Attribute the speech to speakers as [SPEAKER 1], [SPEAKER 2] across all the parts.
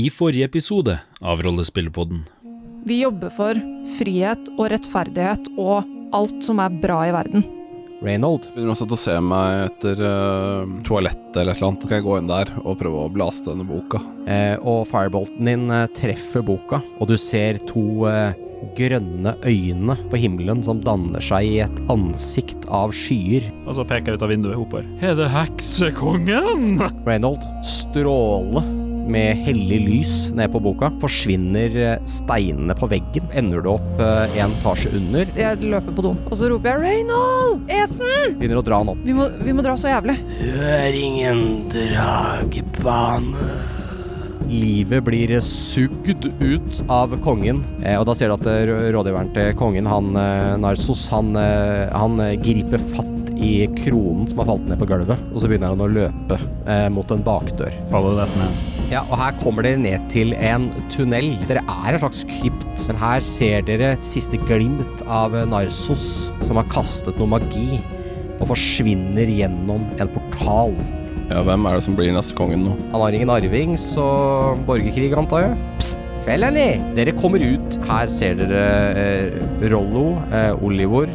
[SPEAKER 1] I forrige episode av Rollespillpodden
[SPEAKER 2] Vi jobber for frihet og rettferdighet og alt som er bra i verden.
[SPEAKER 3] Reynold.
[SPEAKER 4] Begynner også å se meg etter uh, toalettet eller et eller annet. Så kan jeg gå inn der og prøve å blaste denne boka.
[SPEAKER 3] Eh, og firebolten din eh, treffer boka, og du ser to eh, grønne øyne på himmelen som danner seg i et ansikt av skyer.
[SPEAKER 5] Og så peker jeg ut av vinduet oppover. Er det heksekongen?
[SPEAKER 3] Reynold, stråle med hellig lys ned på boka, forsvinner eh, steinene på veggen. Ender du opp eh, en etasje under,
[SPEAKER 2] Jeg løper på do, og så roper jeg 'Reynold! Esen!
[SPEAKER 3] begynner å dra den opp.
[SPEAKER 2] Vi må, vi må dra så jævlig'.
[SPEAKER 3] Hør ingen dragebane. Livet blir sugd ut av kongen, eh, og da ser du at eh, rå- rådgiveren til kongen, han eh, Narsos, han, eh, han eh, griper fatt i kronen som har falt ned på gulvet, og så begynner han å løpe eh, mot en bakdør.
[SPEAKER 5] Faller det ned.
[SPEAKER 3] Ja, og her kommer dere ned til en tunnel. Dere er en slags krypt, men her ser dere et siste glimt av Narsos, som har kastet noe magi, og forsvinner gjennom en portal.
[SPEAKER 4] Ja, hvem er det som blir neste kongen nå?
[SPEAKER 3] Han har ingen arving, så borgerkrig, antar jeg. Psst! Felony! Dere kommer ut. Her ser dere eh, Rollo, eh, Olivor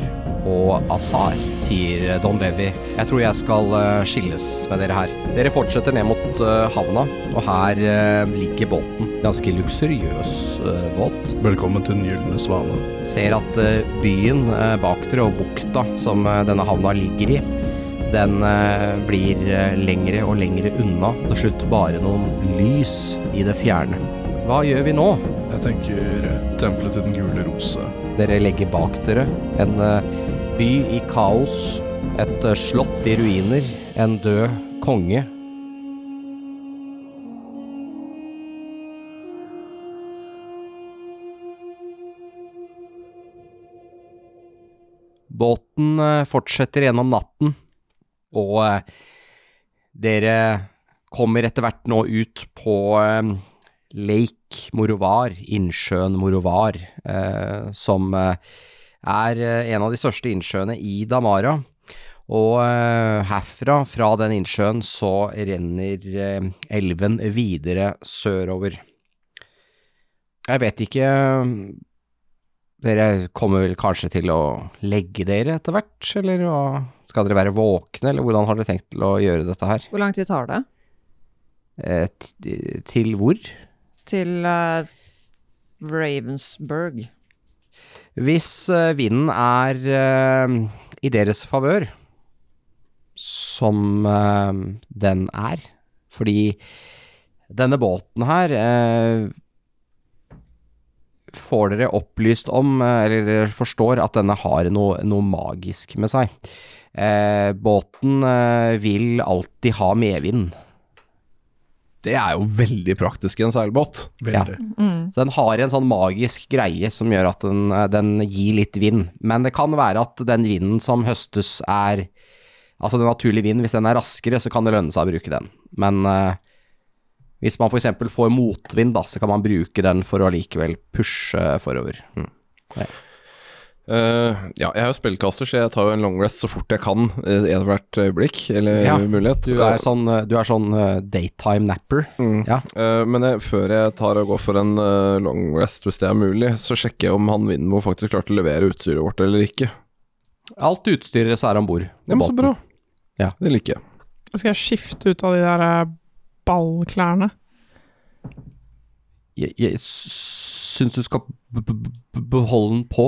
[SPEAKER 3] og Azar, sier eh, Don Levi. Jeg tror jeg skal eh, skilles med dere her. Dere fortsetter ned mot eh, havna, og her eh, ligger båten. Ganske luksuriøs eh, båt.
[SPEAKER 6] Velkommen til Den gylne svane.
[SPEAKER 3] Ser at eh, byen eh, bak dere og bukta som eh, denne havna ligger i, den eh, blir eh, lengre og lengre unna. Til slutt bare noen lys i det fjerne. Hva gjør vi nå?
[SPEAKER 6] Jeg tenker tempelet til Den gule rose.
[SPEAKER 3] Dere legger bak dere en eh, by i kaos, et eh, slott i ruiner, en død konge. Båten eh, fortsetter gjennom natten, og eh, dere kommer etter hvert nå ut på eh, Lake Morovar, innsjøen Morovar, eh, som eh, er eh, en av de største innsjøene i Damara. Og eh, herfra, fra den innsjøen, så renner eh, elven videre sørover. Jeg vet ikke Dere kommer vel kanskje til å legge dere etter hvert, eller hva? Skal dere være våkne, eller hvordan har dere tenkt til å gjøre dette her?
[SPEAKER 2] Hvor lang tid tar det?
[SPEAKER 3] Eh, t- til hvor?
[SPEAKER 2] Til
[SPEAKER 7] uh,
[SPEAKER 2] eh, Ravensburg.
[SPEAKER 3] Hvis eh, vinden er eh, i deres favør, som eh, den er, fordi denne båten her eh, får dere opplyst om, eh, eller dere forstår at denne har noe, noe magisk med seg. Eh, båten eh, vil alltid ha medvind,
[SPEAKER 4] Det er jo veldig praktisk i en seilbåt.
[SPEAKER 6] Veldig.
[SPEAKER 3] Så den har en sånn magisk greie som gjør at den, eh, den gir litt vind. Men det kan være at den vinden som høstes er Altså den naturlige vinden, hvis den er raskere, så kan det lønne seg å bruke den. Men eh, hvis man f.eks. får motvind, da, så kan man bruke den for å likevel pushe forover. Mm.
[SPEAKER 4] Eh, ja, jeg er jo spillkaster, så jeg tar jo en long rest så fort jeg kan eh, i ethvert øyeblikk eller
[SPEAKER 3] Ja,
[SPEAKER 4] mulighet.
[SPEAKER 3] Du er sånn, eh, du er sånn eh, daytime napper.
[SPEAKER 4] Eh, men jeg, før jeg tar og går for en eh, long rest, hvis det er mulig, så sjekker jeg om han Vindmo faktisk klarte å levere utstyret vårt eller ikke.
[SPEAKER 3] Alt utstyret så er om bord.
[SPEAKER 4] Ja, men så bra.
[SPEAKER 3] Ja.
[SPEAKER 4] Det liker jeg.
[SPEAKER 8] Skal jeg skifte ut av de der eh, ballklærne?
[SPEAKER 3] Jeg, jeg s- syns du skal b b b beholde den på,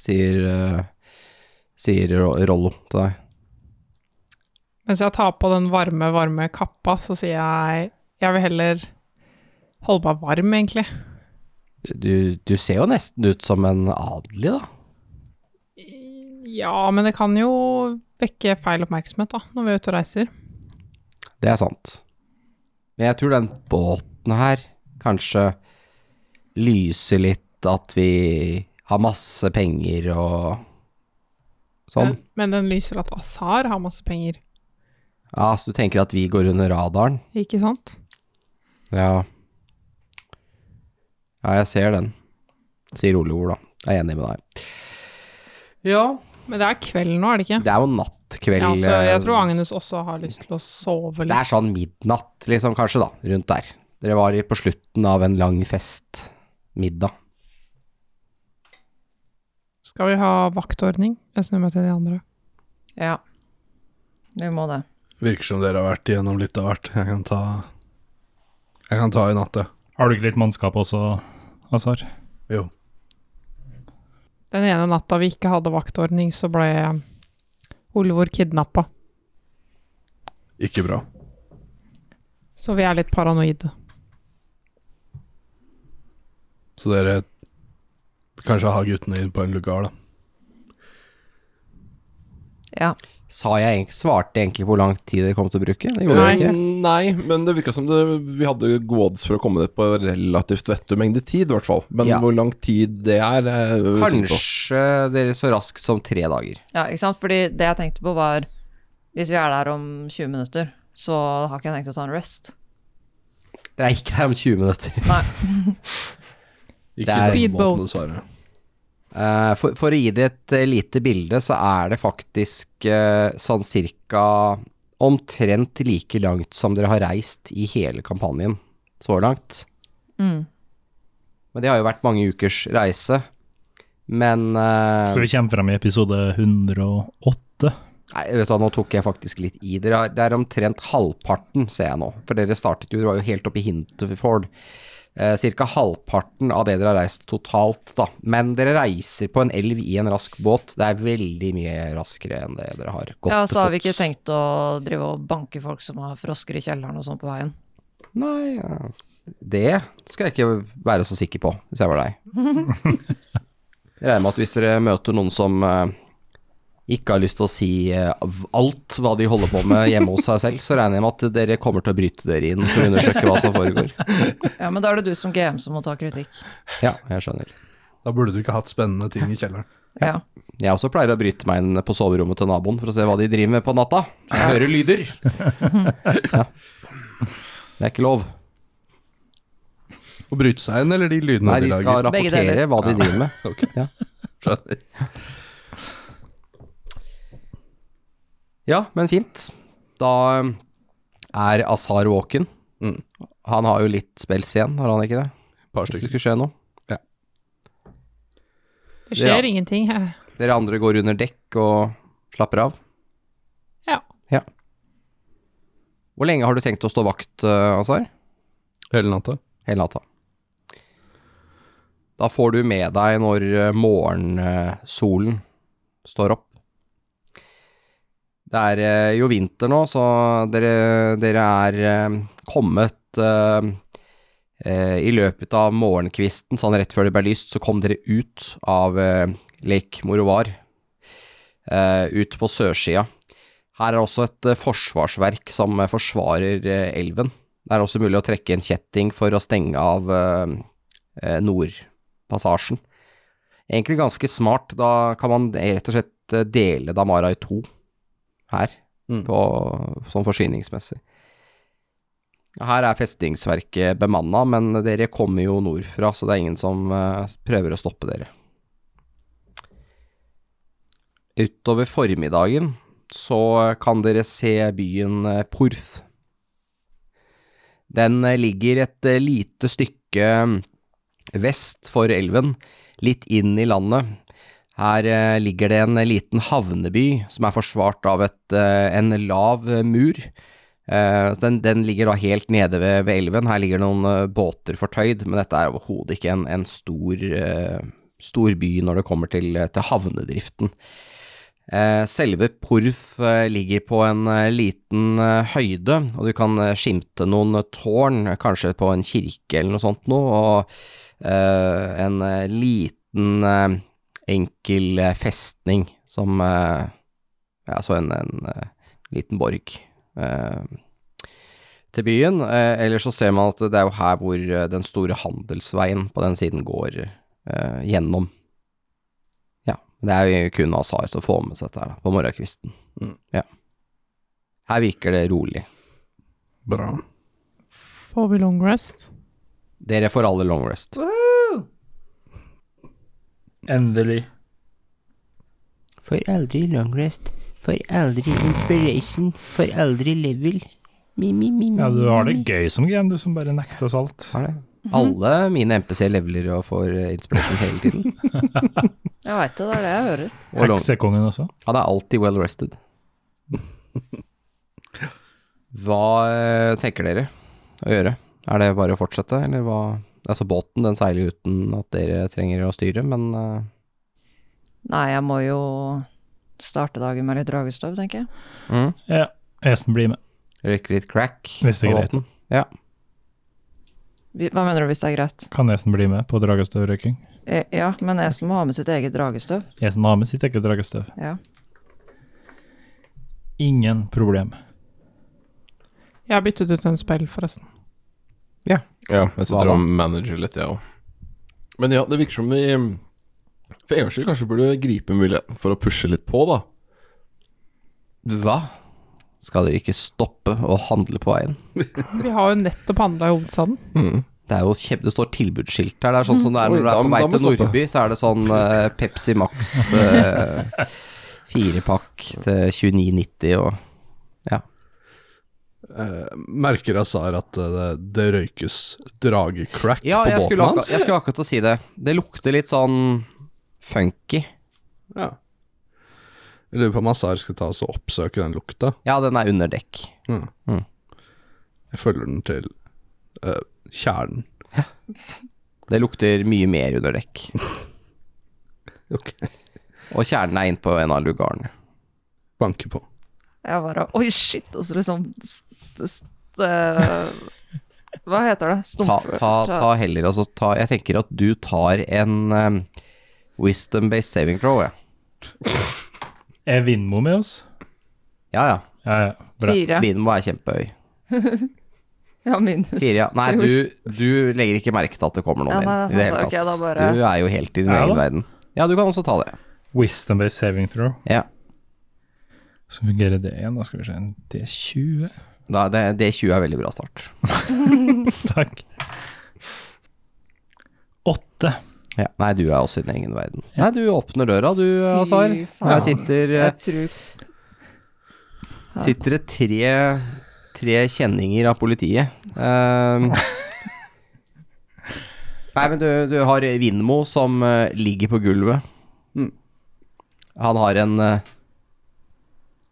[SPEAKER 3] sier, eh, sier Ro- Rollo til deg.
[SPEAKER 8] Mens jeg tar på den varme, varme kappa, så sier jeg jeg vil heller holde meg varm, egentlig.
[SPEAKER 3] du, du ser jo nesten ut som en adelig, da.
[SPEAKER 8] Ja, men det kan jo vekke feil oppmerksomhet, da, når vi er ute og reiser.
[SPEAKER 3] Det er sant. Men jeg tror den båten her kanskje lyser litt at vi har masse penger og sånn.
[SPEAKER 8] Men- Men den lyser at Azar har masse penger,
[SPEAKER 3] Ja, så du tenker at vi går under radaren?
[SPEAKER 8] ikke sant?
[SPEAKER 3] Ja. Ja, jeg ser den, sier Olivor, da. Jeg er enig med deg. Ja.
[SPEAKER 8] Men det er kveld nå, er det ikke?
[SPEAKER 3] Det er jo nattkveld.
[SPEAKER 8] Ja, så jeg
[SPEAKER 3] eh,
[SPEAKER 8] tror Agnes også har lyst til å sove
[SPEAKER 3] Det
[SPEAKER 8] litt.
[SPEAKER 3] er sånn midnatt, liksom, kanskje, da. Rundt der. Dere var i- på slutten av en lang fest. Middag.
[SPEAKER 8] Skal vi ha vaktordning? Jeg snur meg til de andre.
[SPEAKER 7] Ja. Vi må det.
[SPEAKER 6] Virker som dere har vært igjennom litt av hvert. Jeg kan ta Jeg kan ta i natt, jeg.
[SPEAKER 5] Har du ikke litt mannskap også, Azar?
[SPEAKER 8] Den ene natta vi ikke hadde vaktordning, så ble Olvor kidnappa.
[SPEAKER 6] Ikke bra.
[SPEAKER 8] Så vi er litt paranoide.
[SPEAKER 6] Så dere Kanskje ha guttene inn på en lugar, da.
[SPEAKER 7] Ja.
[SPEAKER 3] Sa jeg egentlig, svarte jeg egentlig på hvor lang tid dere kom til å bruke? Det gjorde
[SPEAKER 8] Nei.
[SPEAKER 3] dere ikke.
[SPEAKER 4] Nei, men det virka som det, vi hadde gode odds for å komme dit på relativt vettug mengde tid, i hvert fall. Men
[SPEAKER 3] Ja.
[SPEAKER 4] hvor lang tid det er er jeg usikker på.
[SPEAKER 3] Kanskje dere så raskt som tre dager.
[SPEAKER 7] ja, ikke sant? Fordi det jeg tenkte på var Hvis vi er der om 20 minutter, så har ikke jeg tenkt å ta en rest.
[SPEAKER 3] Dere er ikke der om 20 minutter.
[SPEAKER 7] Nei.
[SPEAKER 3] Det
[SPEAKER 6] Ikke
[SPEAKER 3] er-
[SPEAKER 6] på den
[SPEAKER 8] Speedboat.
[SPEAKER 6] måten, dessverre.
[SPEAKER 3] Eh, for, for å gi det et eh, lite bilde, så er det faktisk eh, sånn cirka omtrent like langt som dere har reist i hele kampanjen så langt.
[SPEAKER 7] Mm.
[SPEAKER 3] Men det har jo vært mange ukers reise. Men eh,
[SPEAKER 5] Så vi kommer frem i episode 108.
[SPEAKER 3] Nei, vet du hva, nå tok jeg faktisk litt i. Dere har, det er omtrent halvparten, ser jeg nå. For dere startet jo, dere var jo helt oppe i Hinterford. Eh, cirka halvparten av det dere har reist totalt, da. Men dere reiser på en elv i en rask båt. Det er veldig mye raskere enn det dere har gått
[SPEAKER 7] Ja, så har vi
[SPEAKER 3] til
[SPEAKER 7] ikke
[SPEAKER 3] fots.
[SPEAKER 7] tenkt å drive og banke folk som har frosker i kjelleren og sånn på veien.
[SPEAKER 3] Nei, ja. det skal jeg ikke være så sikker på, hvis jeg var deg. Jeg regner med at hvis dere møter noen som eh, ikke har lyst til å si eh, av alt hva de holder på med hjemme hos seg selv, så regner jeg med at dere kommer til å bryte dere inn for å undersøke hva som foregår.
[SPEAKER 7] Ja, men da er det du som GM som må ta kritikk.
[SPEAKER 3] Ja, jeg skjønner.
[SPEAKER 6] Da burde du ikke hatt spennende ting i kjelleren.
[SPEAKER 7] Ja.
[SPEAKER 3] Jeg også pleier å bryte meg inn på soverommet til naboen for å se hva de driver med på natta. Høre lyder. Ja. Det er ikke lov.
[SPEAKER 6] Å bryte seg inn, eller de lydene
[SPEAKER 3] Nei, de skal
[SPEAKER 6] lager?
[SPEAKER 7] Begge deler.
[SPEAKER 3] rapportere hva de driver med. Ja.
[SPEAKER 6] Skjønner.
[SPEAKER 3] Ja, men fint. Da um, er Azar våken.
[SPEAKER 6] Mm.
[SPEAKER 3] Han har jo litt spels igjen, har han ikke det?
[SPEAKER 6] Par
[SPEAKER 3] Hvis det
[SPEAKER 6] stykker.
[SPEAKER 3] skulle skje noe.
[SPEAKER 8] Det skjer
[SPEAKER 3] Ja.
[SPEAKER 8] ingenting. jeg-
[SPEAKER 3] Dere andre går under dekk og slapper av.
[SPEAKER 8] Ja.
[SPEAKER 3] ja. Hvor lenge har du tenkt å stå vakt, uh, Azar?
[SPEAKER 6] Hele natta.
[SPEAKER 3] Hele natta. Da får du med deg når eh, morgensolen eh, står opp. Det er eh, jo vinter nå, så dere, dere er eh, kommet eh, eh, I løpet av morgenkvisten, sånn rett før det ble lyst, så kom dere ut av eh, Lake Morovar. eh, ut på sørsida. Her er også et eh, forsvarsverk som eh, forsvarer eh, elven. Det er også mulig å trekke en kjetting for å stenge av eh, eh, Nordpassasjen. Egentlig ganske smart. Da kan man rett og slett eh, dele Damara i to her,
[SPEAKER 6] Mm.
[SPEAKER 3] på, sånn forsyningsmessig. Her er festningsverket bemanna, men dere kommer jo nordfra, så det er ingen som eh, prøver å stoppe dere. Utover formiddagen så kan dere se byen eh, Porth. Den eh, ligger et eh, lite stykke mm, vest for elven, litt inn i landet. Her eh, ligger det en eh, liten havneby som er forsvart av et, eh, en lav eh, mur. Eh, så Den, den ligger da helt nede ved, ved elven. Her ligger noen eh, båter fortøyd, men dette er overhodet ikke en, en stor, eh, stor by når det kommer til, eh, til havnedriften. Eh, Selve Porf eh, ligger på en eh, liten eh, høyde, og du kan eh, skimte noen eh, tårn, eh, kanskje på en kirke eller noe sånt noe, og eh, en eh, liten eh, enkel eh, festning som eh, Ja, så en, en eh, liten borg eh, til byen. Eh, Eller så ser man at det er jo her hvor eh, den store handelsveien på den siden går eh, gjennom. Ja, det er jo kun Azar som får med seg dette her da, på morgenkvisten.
[SPEAKER 6] Mm.
[SPEAKER 3] Ja. Her virker det rolig.
[SPEAKER 6] Bra.
[SPEAKER 8] Får vi long rest?
[SPEAKER 3] Dere får alle long rest.
[SPEAKER 5] Endelig.
[SPEAKER 9] For aldri long rest, for aldri inspiration, for aldri level.
[SPEAKER 3] Mi, mi, mi, mi,
[SPEAKER 5] Ja, du
[SPEAKER 3] mi,
[SPEAKER 5] har det
[SPEAKER 3] mi.
[SPEAKER 5] gøy som GM, du som bare nekter oss alt.
[SPEAKER 3] Har det. Mhm. Alle mine MPC leveler og får eh, inspiration hele tiden.
[SPEAKER 7] Jeg veit det, det er det jeg hører.
[SPEAKER 3] Og long.
[SPEAKER 5] Heksekongen også.
[SPEAKER 3] Han er alltid well rested. Hva eh, tenker dere å gjøre? Er det bare å fortsette, eller hva? Altså båten, den seiler jo uten at dere trenger å styre, men eh,
[SPEAKER 7] Nei, jeg må jo starte dagen med litt dragestøv, tenker jeg.
[SPEAKER 3] mm,
[SPEAKER 5] Ja, Esen blir med.
[SPEAKER 3] røyke litt crack
[SPEAKER 5] Hvis det er greit.
[SPEAKER 3] båten.
[SPEAKER 7] Vi- Hva mener du hvis det er greit?
[SPEAKER 5] Kan Esen bli med på dragestøvrøyking?
[SPEAKER 7] Eh, Ja, men Esen må ha med sitt eget dragestøv.
[SPEAKER 5] Esen har med sitt eget dragestøv.
[SPEAKER 7] Ja.
[SPEAKER 5] Ingen problem.
[SPEAKER 8] Jeg har byttet ut en spill, forresten.
[SPEAKER 4] Ja, jeg
[SPEAKER 3] Hva
[SPEAKER 4] sitter
[SPEAKER 3] da?
[SPEAKER 4] og manager litt, jeg òg. Men ja, det virker som vi for en gangs skyld kanskje burde gripe muligheten for å pushe litt på, da.
[SPEAKER 3] Hva? Skal dere ikke stoppe å handle på veien?
[SPEAKER 8] Vi har jo nettopp handla i hovedstaden.
[SPEAKER 4] Mm.
[SPEAKER 3] Det er jo kjempe, det står tilbudsskilt her. Det er sånn som det er når
[SPEAKER 4] Oi,
[SPEAKER 3] du er
[SPEAKER 4] da-
[SPEAKER 3] på vei
[SPEAKER 4] da
[SPEAKER 3] til
[SPEAKER 4] må vi stoppe.
[SPEAKER 3] Nordby, så er det sånn eh, Pepsi Max eh, firepakk til 29,90 og
[SPEAKER 6] Eh, merker Azar at eh, det, det røykes dragecrack
[SPEAKER 3] Ja,
[SPEAKER 6] på
[SPEAKER 3] jeg
[SPEAKER 6] båten
[SPEAKER 3] skulle, akkurat,
[SPEAKER 6] hans?
[SPEAKER 3] jeg skulle akkurat til å si det. Det lukter litt sånn funky.
[SPEAKER 6] Ja. Jeg lurer på om Azar skal ta oss og oppsøke den lukta.
[SPEAKER 3] Ja, den er under dekk.
[SPEAKER 6] Jeg følger den til eh, kjernen.
[SPEAKER 3] Det lukter mye mer under dekk.
[SPEAKER 6] Ok,
[SPEAKER 3] Og kjernen er inne på en av lugarene.
[SPEAKER 6] Banker på.
[SPEAKER 7] Jeg bare Oi, shit! Og så liksom st st eh, Hva heter det?
[SPEAKER 3] Ta,
[SPEAKER 7] Stump...
[SPEAKER 3] ta, ta heller, altså ta Jeg tenker at du tar en eh, wisdom-based saving throw, ja.
[SPEAKER 5] Er Vindmo med oss?
[SPEAKER 3] Ja ja.
[SPEAKER 5] Ja, ja. Bra.
[SPEAKER 7] Fire.
[SPEAKER 3] Vinen må være kjempehøy.
[SPEAKER 7] Ja, minus.
[SPEAKER 3] Fire, ja. Nei,
[SPEAKER 7] Jo,
[SPEAKER 3] du, du legger ikke merke til at det kommer
[SPEAKER 7] Ja,
[SPEAKER 3] noen
[SPEAKER 7] nei,
[SPEAKER 3] inn i
[SPEAKER 7] sant,
[SPEAKER 3] det hele
[SPEAKER 7] ok, da
[SPEAKER 3] tatt.
[SPEAKER 7] bare-
[SPEAKER 3] Du er jo helt i din
[SPEAKER 5] Ja,
[SPEAKER 3] egen
[SPEAKER 5] da.
[SPEAKER 3] verden. Ja, du kan også ta det.
[SPEAKER 5] Wisdom-based saving throw.
[SPEAKER 3] Ja.
[SPEAKER 5] Så fungerer det igjen. Da skal vi se en D20.
[SPEAKER 3] Da, det, det 20 er veldig bra start.
[SPEAKER 5] Takk. Åtte.
[SPEAKER 3] Ja. Nei, du er også i din egen verden. Nei, du åpner døra du, Azar. Her
[SPEAKER 7] faen.
[SPEAKER 3] sitter, eh,
[SPEAKER 7] Jeg tror Ja.
[SPEAKER 3] sitter det tre, tre kjenninger av politiet. Ehm, nei, men du, du har Vindmo som eh, ligger på gulvet. Han har en eh,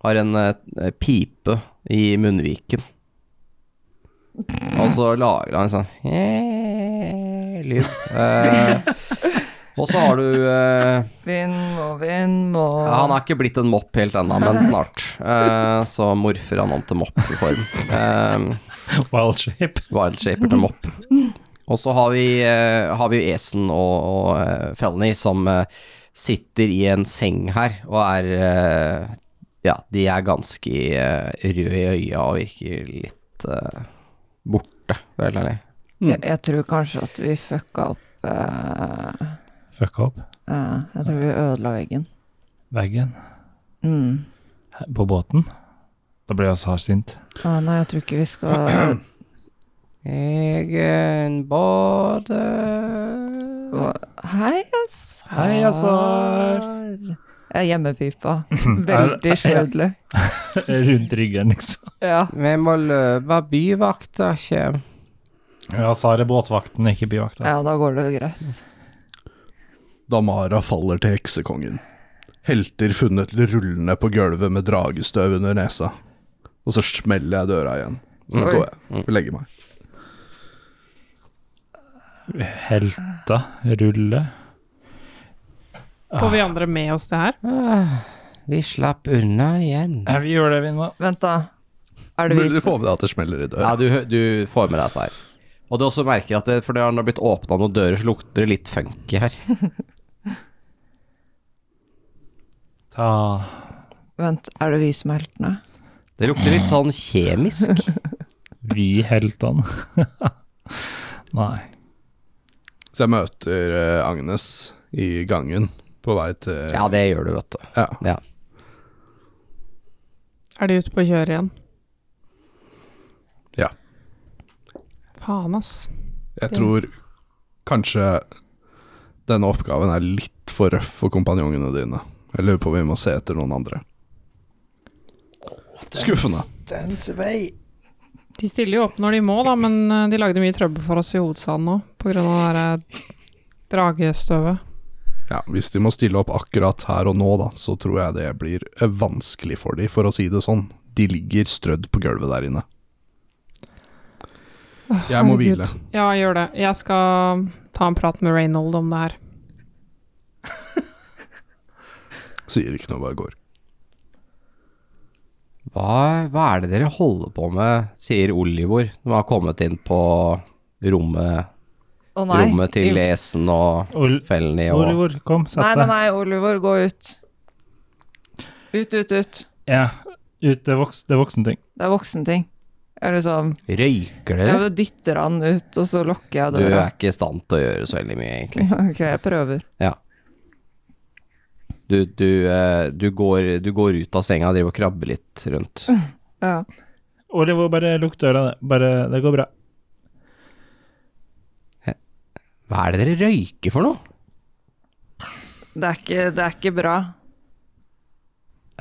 [SPEAKER 3] Har en eh, pipe i munnviken. Og så lager han en sånn eh, lyd. Eh, og så har du eh,
[SPEAKER 7] Vind og vind og
[SPEAKER 3] ja, han er ikke blitt en mopp helt ennå, men snart. Eh, så morfer han om til mopp i form. Eh,
[SPEAKER 5] Wild shape.
[SPEAKER 3] wild shaper til mopp. Og så har vi, eh, har vi jo Esen og, og eh, Felny som eh, sitter i en seng her og er eh, Ja, de er ganske eh, røde i øya og virker litt eh, borte, for å være helt ærlig.
[SPEAKER 7] jeg, jeg tror kanskje at vi fucka opp eh,
[SPEAKER 5] Fucka opp
[SPEAKER 7] eh, Jeg tror vi ødela veggen.
[SPEAKER 5] veggen
[SPEAKER 7] Mm.
[SPEAKER 5] her på båten. Da ble jeg så sint.
[SPEAKER 7] Ah, nei, jeg tror ikke vi skal
[SPEAKER 3] Egen både
[SPEAKER 7] Hei, ass.
[SPEAKER 5] Hei, Azar.
[SPEAKER 7] Jeg er hjemmepipa. Veldig svødelig.
[SPEAKER 5] Rundt ryggen, liksom.
[SPEAKER 7] Ja.
[SPEAKER 3] Vi må løpe, byvakta kjem.
[SPEAKER 5] Ja, Sar er båtvakten, ikke byvakta.
[SPEAKER 7] ja, da går det greit.
[SPEAKER 6] Damara faller til heksekongen. Helter funnet rullende på gulvet med dragestøv under nesa. Og så smeller jeg døra igjen. Så
[SPEAKER 7] Oi.
[SPEAKER 6] går
[SPEAKER 3] Mm.
[SPEAKER 6] jeg og legger meg.
[SPEAKER 5] Helta, rulle.
[SPEAKER 8] Får vi andre med oss det her?
[SPEAKER 3] Ah, vi slapp unna igjen.
[SPEAKER 5] Ja, vi gjør det, Vinna.
[SPEAKER 7] Vent, da. Er det vi
[SPEAKER 6] Men du
[SPEAKER 7] som
[SPEAKER 6] får med deg at det smeller i døra.
[SPEAKER 3] Ja, du, hø- du får med deg dette her. Og du også merker at det, for når det har blitt åpna noen dører, så lukter det litt funky her.
[SPEAKER 5] Ta
[SPEAKER 7] Vent, er det vi som er heltene?
[SPEAKER 3] Det lukter litt sånn kjemisk.
[SPEAKER 5] vi heltene. Nei.
[SPEAKER 6] Så jeg møter eh, Agnes i gangen på vei til
[SPEAKER 3] Ja, det gjør du, vet du.
[SPEAKER 6] Ja.
[SPEAKER 3] Ja.
[SPEAKER 8] Er de ute på å kjøre igjen?
[SPEAKER 6] Ja.
[SPEAKER 8] Faen, ass.
[SPEAKER 6] Jeg tror kanskje denne oppgaven er litt for røff for kompanjongene dine. Jeg lurer på om vi må se etter noen andre. Skuffende.
[SPEAKER 8] De stiller jo opp når de må, da, men eh, de lagde mye trøbbel for oss i hovedstaden nå pga. det der eh, dragestøvet.
[SPEAKER 6] Ja, Hvis de må stille opp akkurat her og nå, da, så tror jeg det blir eh, vanskelig for de, for å si det sånn. De ligger strødd på gulvet der inne. Jeg må
[SPEAKER 8] Herregud.
[SPEAKER 6] hvile.
[SPEAKER 8] Ja, gjør det. Jeg skal um, ta en prat med Reynold om det her.
[SPEAKER 6] Sier ikke noe, bare går.
[SPEAKER 3] Hva, hva er det dere holder på med, sier Olivor når han har kommet inn på rommet,
[SPEAKER 7] Å nei.
[SPEAKER 3] rommet til
[SPEAKER 7] Im-
[SPEAKER 3] Esen og
[SPEAKER 5] Ol-
[SPEAKER 3] Felny og
[SPEAKER 5] Olivor, kom,
[SPEAKER 7] Nei,
[SPEAKER 5] sett
[SPEAKER 7] nei,
[SPEAKER 5] deg.
[SPEAKER 7] nei, Oliver, gå ut. Ut, ut, ut.
[SPEAKER 5] Ja, ut, det er, voks, det er voksenting.
[SPEAKER 7] Det er voksenting. Jeg liksom
[SPEAKER 3] Røyker dere?
[SPEAKER 7] Jeg dytter han ut, og så lukker jeg
[SPEAKER 3] Du er
[SPEAKER 7] døra.
[SPEAKER 3] ikke i stand til å gjøre så veldig mye, egentlig.
[SPEAKER 7] Ok, jeg prøver.
[SPEAKER 3] Du, du, eh, du, går, du går ut av senga og driver og krabber litt rundt.
[SPEAKER 7] Ja.
[SPEAKER 5] Olivor, bare lukk døra. det- Bare, det går bra.
[SPEAKER 3] Hva er det dere røyker for noe?
[SPEAKER 7] Det, er ikke, det er ikke bra.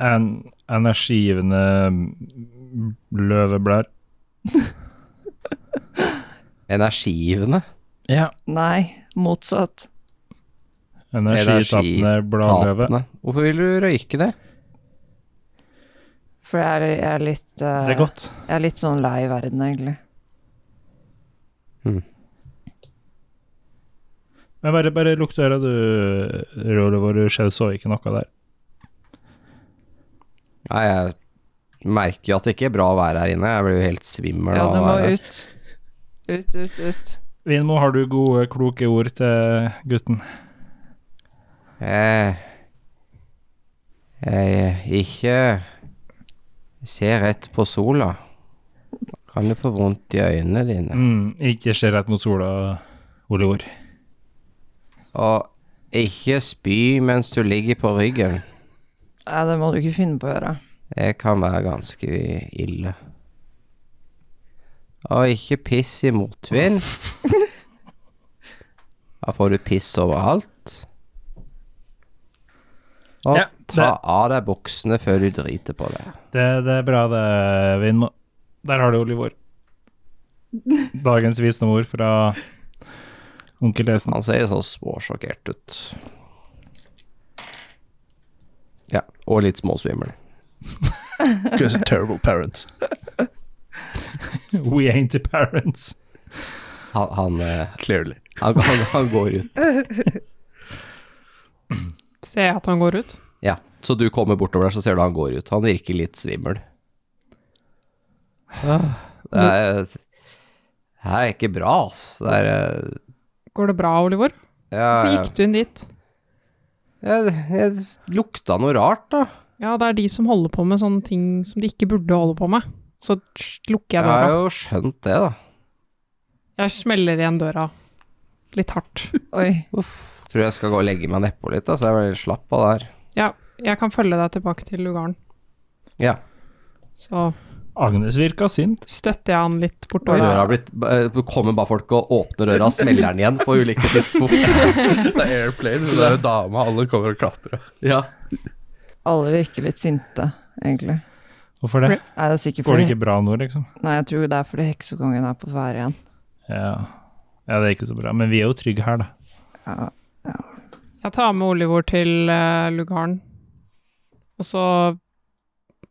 [SPEAKER 5] En energigivende mm, løveblær.
[SPEAKER 3] Energigivende.
[SPEAKER 5] Ja.
[SPEAKER 7] Nei, motsatt.
[SPEAKER 5] Energitapende bladløve.
[SPEAKER 3] Tapende. Hvorfor vil du røyke det?
[SPEAKER 7] For jeg er, jeg er litt eh,
[SPEAKER 5] Det er godt.
[SPEAKER 7] Jeg er litt sånn lei verden, egentlig.
[SPEAKER 5] Men bare, bare lukk døra, du, Olivor. Du selv så ikke noe der.
[SPEAKER 3] Nei, jeg merker jo at det ikke er bra å være her inne. Jeg blir jo helt svimmel
[SPEAKER 7] Ja,
[SPEAKER 3] av
[SPEAKER 7] du
[SPEAKER 3] å
[SPEAKER 7] må
[SPEAKER 3] være her.
[SPEAKER 7] ut. Ut, ut, ut.
[SPEAKER 5] Vinmo, har du gode, kloke ord til gutten?
[SPEAKER 3] Jeg, jeg ikke ser rett på sola. Kan du få vondt i øynene dine?
[SPEAKER 5] Mm, ikke se rett mot sola, Olivor.
[SPEAKER 3] Og ikke spy mens du ligger på ryggen.
[SPEAKER 7] Nei, det må du ikke finne på å gjøre.
[SPEAKER 3] Det kan være ganske ille. Og ikke piss i motvind. Da får du piss overalt. Og
[SPEAKER 5] Ja,
[SPEAKER 3] ta
[SPEAKER 5] det-
[SPEAKER 3] av deg buksene før du driter på det.
[SPEAKER 5] Det, det er bra, det, Vinmo. Der har du Olivor. Dagens visdomord fra onkel Esen.
[SPEAKER 3] Han ser så småsjokkert ut. Ja, og litt småsvimmel.
[SPEAKER 6] Because you're terrible parents.
[SPEAKER 5] We ain't the parents.
[SPEAKER 3] Han, han, eh,
[SPEAKER 6] Clearly.
[SPEAKER 3] han, han, han går ut.
[SPEAKER 8] Ser jeg at han går ut?
[SPEAKER 3] Ja, så du kommer bortover der, så ser du han går ut. Han virker litt svimmel. Ah, Det er, det her er ikke bra, ass. Det er eh,
[SPEAKER 8] Går det bra, Oliver? Hvorfor
[SPEAKER 3] ja,
[SPEAKER 8] gikk du inn dit?
[SPEAKER 3] jeg, jeg lukta noe rart, da.
[SPEAKER 8] Ja, det er de som holder på med sånne ting som de ikke burde holde på med. Så tsj, lukker
[SPEAKER 3] Jeg
[SPEAKER 8] jeg
[SPEAKER 3] har
[SPEAKER 8] døra.
[SPEAKER 3] jo skjønt det, da.
[SPEAKER 8] Jeg smeller igjen døra. Litt hardt.
[SPEAKER 7] Oi.
[SPEAKER 3] Uff. Tror jeg skal gå og legge meg nedpå litt, da, så jeg blir litt slapp av det her.
[SPEAKER 8] Ja, jeg kan følge deg tilbake til lugaren.
[SPEAKER 3] Ja.
[SPEAKER 8] Så
[SPEAKER 5] Agnes virka sint.
[SPEAKER 8] støtter jeg han litt bortover.
[SPEAKER 3] Døra har blitt eh, Kommer bare folk og åpner døra og smeller den igjen på ulike tidspunkt.
[SPEAKER 6] Det er airplane, hun der dama, alle kommer og klapper.
[SPEAKER 3] Ja.
[SPEAKER 7] Alle virker litt sinte, egentlig.
[SPEAKER 5] Hvorfor det?
[SPEAKER 7] Nei, det er sikkert
[SPEAKER 5] Går det
[SPEAKER 7] fordi
[SPEAKER 5] ikke bra nå, liksom?
[SPEAKER 7] Nei, jeg tror det er fordi heksekongen er på ferde igjen.
[SPEAKER 5] Ja. ja, det er ikke så bra. Men vi er jo trygge her, da.
[SPEAKER 7] Ja.
[SPEAKER 8] Jeg tar med Olivor til eh, lugaren. Og så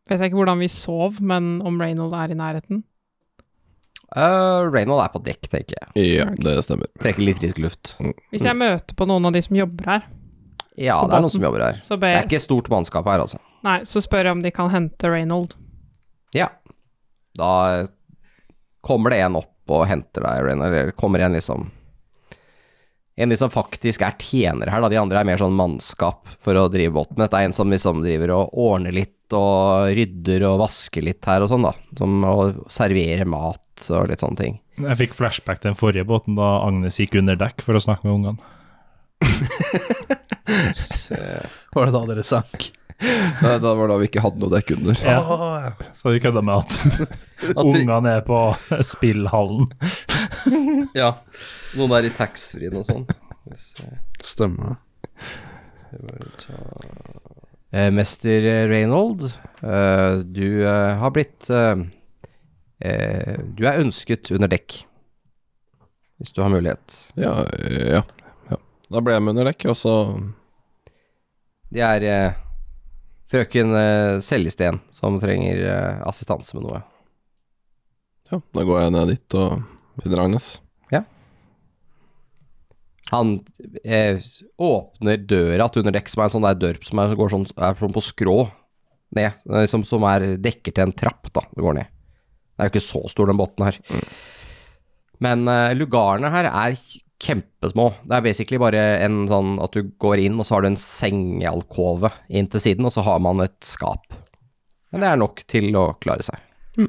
[SPEAKER 8] vet jeg ikke hvordan vi sov, men om Reynold er i nærheten.
[SPEAKER 3] Uh, Reynold er på dekk, tenker jeg.
[SPEAKER 4] Ja, det stemmer.
[SPEAKER 3] Trekker litt frisk luft.
[SPEAKER 8] Hvis
[SPEAKER 3] Mm.
[SPEAKER 8] jeg møter på noen av de som jobber her,
[SPEAKER 3] Ja, det er noen som jobber her.
[SPEAKER 8] så,
[SPEAKER 3] Det
[SPEAKER 8] ber
[SPEAKER 3] er
[SPEAKER 8] jeg,
[SPEAKER 3] ikke stort mannskap her, altså.
[SPEAKER 8] nei, så spør jeg om de kan hente Reynold.
[SPEAKER 3] Ja. Da kommer det en opp og henter deg, Reynar, eller kommer en liksom En liksom faktisk er tjener her, da. De andre er mer sånn mannskap for å drive båten. Dette er en som liksom driver og ordner litt og rydder og vasker litt her og sånn, da. Som å servere mat og litt sånne ting.
[SPEAKER 5] Jeg fikk flashback til den forrige båten da Agnes gikk under dekk for å snakke med ungene.
[SPEAKER 6] Var det da dere sank?
[SPEAKER 4] Nei, det var da vi ikke hadde noe dekk under.
[SPEAKER 5] Ja. Så vi kødda med at ungene er på spillhallen.
[SPEAKER 3] Ja. Noen er i taxfree og sånn.
[SPEAKER 6] Stemmer det.
[SPEAKER 3] Eh, Mester Reynold, eh, du eh, har blitt eh, Eh, du er ønsket under dekk, hvis du har mulighet.
[SPEAKER 4] Ja, ja, ja. Da ble jeg med under dekk, og så
[SPEAKER 3] Det er eh, frøken eh, Seljesten som trenger eh, assistanse med noe.
[SPEAKER 4] Ja, da går jeg ned dit og finner Agnes.
[SPEAKER 3] Han eh, åpner døra til underdekk, som er en sånn der dør som er, går sånn, er sånn på skrå ned. Den er Liksom, som er dekker til en trapp, da. Det går ned. Den er jo ikke så stor, den båten her. Men eh, lugarene her er kjempesmå. Det er basically bare en sånn at du går inn, og så har du en sengealkove inn til siden, og så har man et skap. Men det er nok til å klare seg.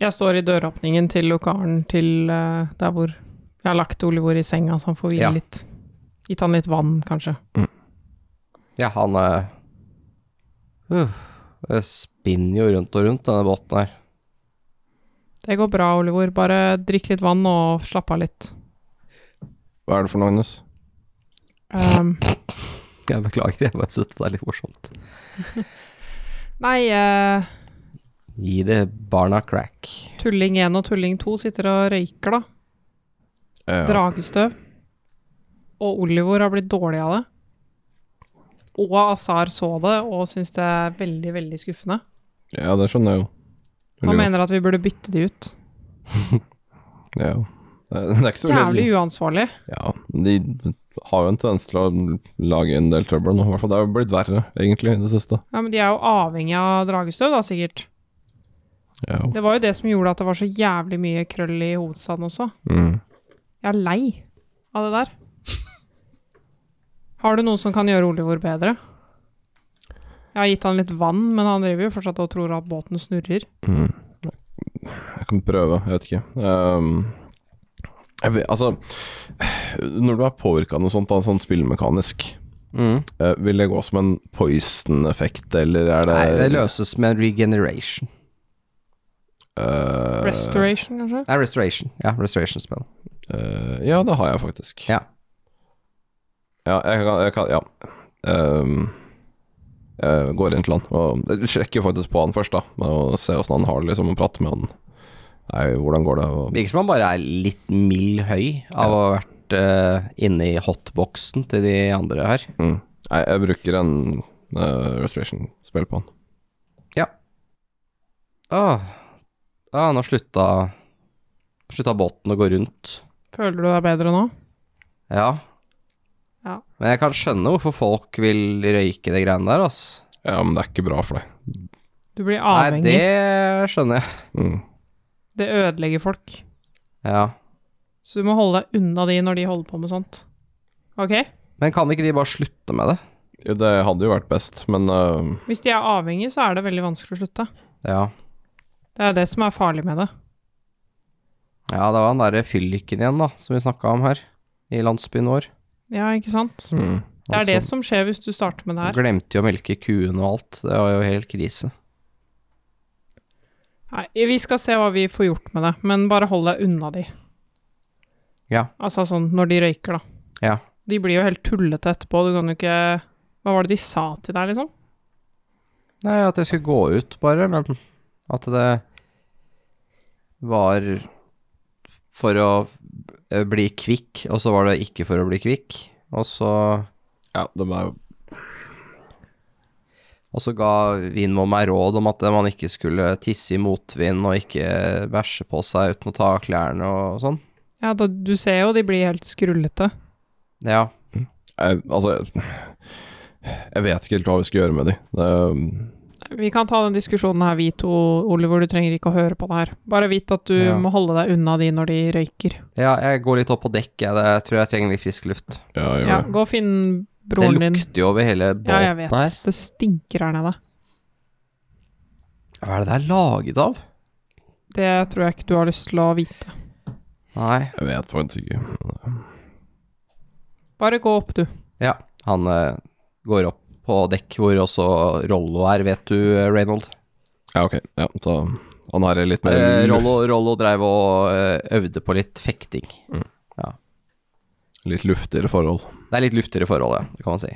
[SPEAKER 8] Jeg står i døråpningen til lokalen til eh, der hvor jeg har lagt Olivor i senga, så han får hvile
[SPEAKER 3] Ja.
[SPEAKER 8] litt. Gitt han litt vann, kanskje.
[SPEAKER 3] Ja, han eh, uh, Det spinner jo rundt og rundt, denne båten her.
[SPEAKER 8] Det går bra, Olivor. Bare drikk litt vann og slapp av litt.
[SPEAKER 4] Hva er det for noe, Agnes?
[SPEAKER 8] Um,
[SPEAKER 3] Jeg beklager, jeg bare syntes det er litt morsomt.
[SPEAKER 8] nei, eh,
[SPEAKER 3] Gi det barna crack.
[SPEAKER 8] tulling 1 og tulling 2 sitter og røyker, da.
[SPEAKER 6] Ja.
[SPEAKER 8] Dragestøv. Og Olivor har blitt dårlig av det. Og Azar så det og syns det er veldig, veldig skuffende.
[SPEAKER 4] Ja, det skjønner jeg jo.
[SPEAKER 8] Han mener at vi burde bytte de ut.
[SPEAKER 4] Ja. Det er det er ikke så
[SPEAKER 8] Jævlig uansvarlig.
[SPEAKER 4] Ja, de har jo en tendens til å lage en del trøbbel nå. I hvert fall det har jo blitt verre, egentlig, i det siste.
[SPEAKER 8] Ja, men de er jo avhengig av dragestøv, da, sikkert.
[SPEAKER 4] Ja.
[SPEAKER 8] Det var jo det som gjorde at det var så jævlig mye krøll i hovedstaden også.
[SPEAKER 4] Mm.
[SPEAKER 8] Jeg er lei av det der. Har du noe som kan gjøre Olivor bedre? Jeg har gitt han litt vann, men han driver jo fortsatt og tror at båten snurrer.
[SPEAKER 4] Mm. Jeg kan prøve, jeg vet ikke. Ehm, jeg vet, altså Når du er påvirka av noe sånt, da, sånn spillemekanisk,
[SPEAKER 3] Mm.
[SPEAKER 4] eh, vil det gå som en poison-effekt, eller er det
[SPEAKER 3] Nei, det løses med regeneration.
[SPEAKER 4] Eh,
[SPEAKER 8] Restoration, kanskje?
[SPEAKER 3] Nei, restoration. Ja, restoration spell.
[SPEAKER 4] eh, ja, det har jeg faktisk.
[SPEAKER 3] Ja.
[SPEAKER 4] Ja, jeg kan, jeg kan Ja. Ehm, jeg går inn til han og jeg sjekker faktisk på han først, da. Og ser åssen han har det, liksom, og prater med han. Nei, hvordan går det? Og,
[SPEAKER 3] Virker som han bare er litt mild høy av å ha vært eh, inne i hotboxen til de andre her.
[SPEAKER 4] mm. Nei, jeg bruker en eh, restoration-spill på han.
[SPEAKER 3] Åh, ah, nå slutta Slutta båten å gå rundt.
[SPEAKER 8] Føler du deg bedre nå?
[SPEAKER 3] Ja.
[SPEAKER 8] Ja.
[SPEAKER 3] Men jeg kan skjønne hvorfor folk vil røyke de greiene der, altså.
[SPEAKER 4] Ja, men det er ikke bra for deg.
[SPEAKER 8] Du blir
[SPEAKER 3] Nei,
[SPEAKER 8] avhengig. det...
[SPEAKER 3] det skjønner jeg.
[SPEAKER 4] Mm.
[SPEAKER 8] ødelegger folk.
[SPEAKER 3] Ja.
[SPEAKER 8] Så du må holde deg unna de når de holder på med sånt. Ok?
[SPEAKER 3] Men kan ikke de bare slutte med det?
[SPEAKER 4] Jo, Det hadde jo vært best, men øh,
[SPEAKER 8] Hvis de er avhengige, så er det veldig vanskelig å slutte.
[SPEAKER 3] Ja.
[SPEAKER 8] Det er det som er farlig med det.
[SPEAKER 3] Ja, det var han derre fylliken igjen, da, som vi snakka om her. I landsbyen vår.
[SPEAKER 8] Ja, ikke sant?
[SPEAKER 3] Mm.
[SPEAKER 8] Det
[SPEAKER 3] Altså-
[SPEAKER 8] er det som skjer hvis du starter med det her.
[SPEAKER 3] Glemte jo å melke kuene og alt. Det var jo helt krise.
[SPEAKER 8] Nei, vi skal se hva vi får gjort med det, men bare hold deg unna de.
[SPEAKER 3] Ja.
[SPEAKER 8] Altså sånn når de røyker, da.
[SPEAKER 3] Ja.
[SPEAKER 8] De blir jo helt tullete etterpå, du kan jo ikke Hva var det de sa til deg, liksom?
[SPEAKER 3] Nei, at jeg skulle gå ut, bare, men at det var for å eh, bli kvikk, og så var det ikke for å bli kvikk. Og så,
[SPEAKER 4] Ja, de er jo
[SPEAKER 3] og så ga Vinmo meg råd om at man ikke skulle tisse i motvind og ikke bæsje på seg uten å ta av klærne og sånn.
[SPEAKER 8] Ja, da, du ser jo de blir helt skrullete.
[SPEAKER 3] Ja.
[SPEAKER 4] jeg, Altså, jeg, jeg vet ikke helt hva vi skal gjøre med de. Det,
[SPEAKER 8] Vi kan ta den diskusjonen her, vi to, Oliver, du trenger ikke å høre på det her. Bare vit at du
[SPEAKER 3] Ja.
[SPEAKER 8] må holde deg unna de når de røyker.
[SPEAKER 3] Ja, jeg går litt opp på dekk, jeg. Det- Jeg tror jeg trenger litt frisk luft.
[SPEAKER 4] ja, jeg gjør
[SPEAKER 8] Ja,
[SPEAKER 4] det.
[SPEAKER 8] gå og finn
[SPEAKER 3] Det
[SPEAKER 8] broren din.
[SPEAKER 3] lukter jo over hele
[SPEAKER 8] Ja, jeg
[SPEAKER 3] båten
[SPEAKER 8] vet.
[SPEAKER 3] her.
[SPEAKER 8] Det stinker her nede.
[SPEAKER 3] Hva er det det er laget av?
[SPEAKER 8] Det tror jeg ikke du har lyst til å vite.
[SPEAKER 3] Nei.
[SPEAKER 4] Jeg vet faktisk ikke.
[SPEAKER 8] Bare gå opp, du.
[SPEAKER 3] Ja, han eh, går opp på dekk hvor også Rollo er, vet du, eh, Reynold.
[SPEAKER 4] Ja, ok. Ja, så han her er litt mer
[SPEAKER 3] Eh,
[SPEAKER 4] lu-
[SPEAKER 3] Rollo, Rollo drev og eh, øvde på litt fekting.
[SPEAKER 4] Mm. litt luftigere forhold.
[SPEAKER 3] Det er litt luftigere forhold, ja, det kan man si.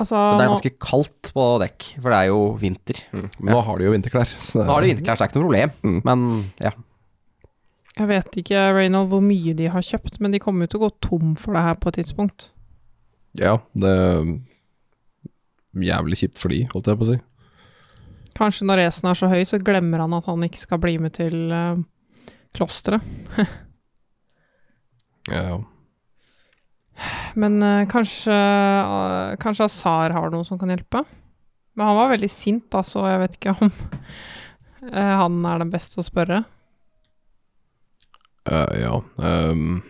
[SPEAKER 8] Altså,
[SPEAKER 3] Men det er
[SPEAKER 8] nå-
[SPEAKER 3] ganske kaldt på dekk, for det er jo vinter.
[SPEAKER 4] Men nå har de jo vinterklær. Så det,
[SPEAKER 3] Nå har de vinterklær, så det er ikke noe problem.
[SPEAKER 4] Mm.
[SPEAKER 3] Men ja,
[SPEAKER 8] jeg vet ikke Reynold, hvor mye de har kjøpt, men de kommer jo til å gå tom for det her på et tidspunkt.
[SPEAKER 4] Ja, det er jævlig kjipt for de, holdt jeg på å si.
[SPEAKER 8] Kanskje når racen er så høy, så glemmer han at han ikke skal bli med til eh, klosteret.
[SPEAKER 4] Ja, ja.
[SPEAKER 8] Men eh, kanskje, eh, kanskje Azar har noe som kan hjelpe? Men han var veldig sint, da, så jeg vet ikke om eh, han er den beste å spørre.
[SPEAKER 4] Eh, ja. ehm,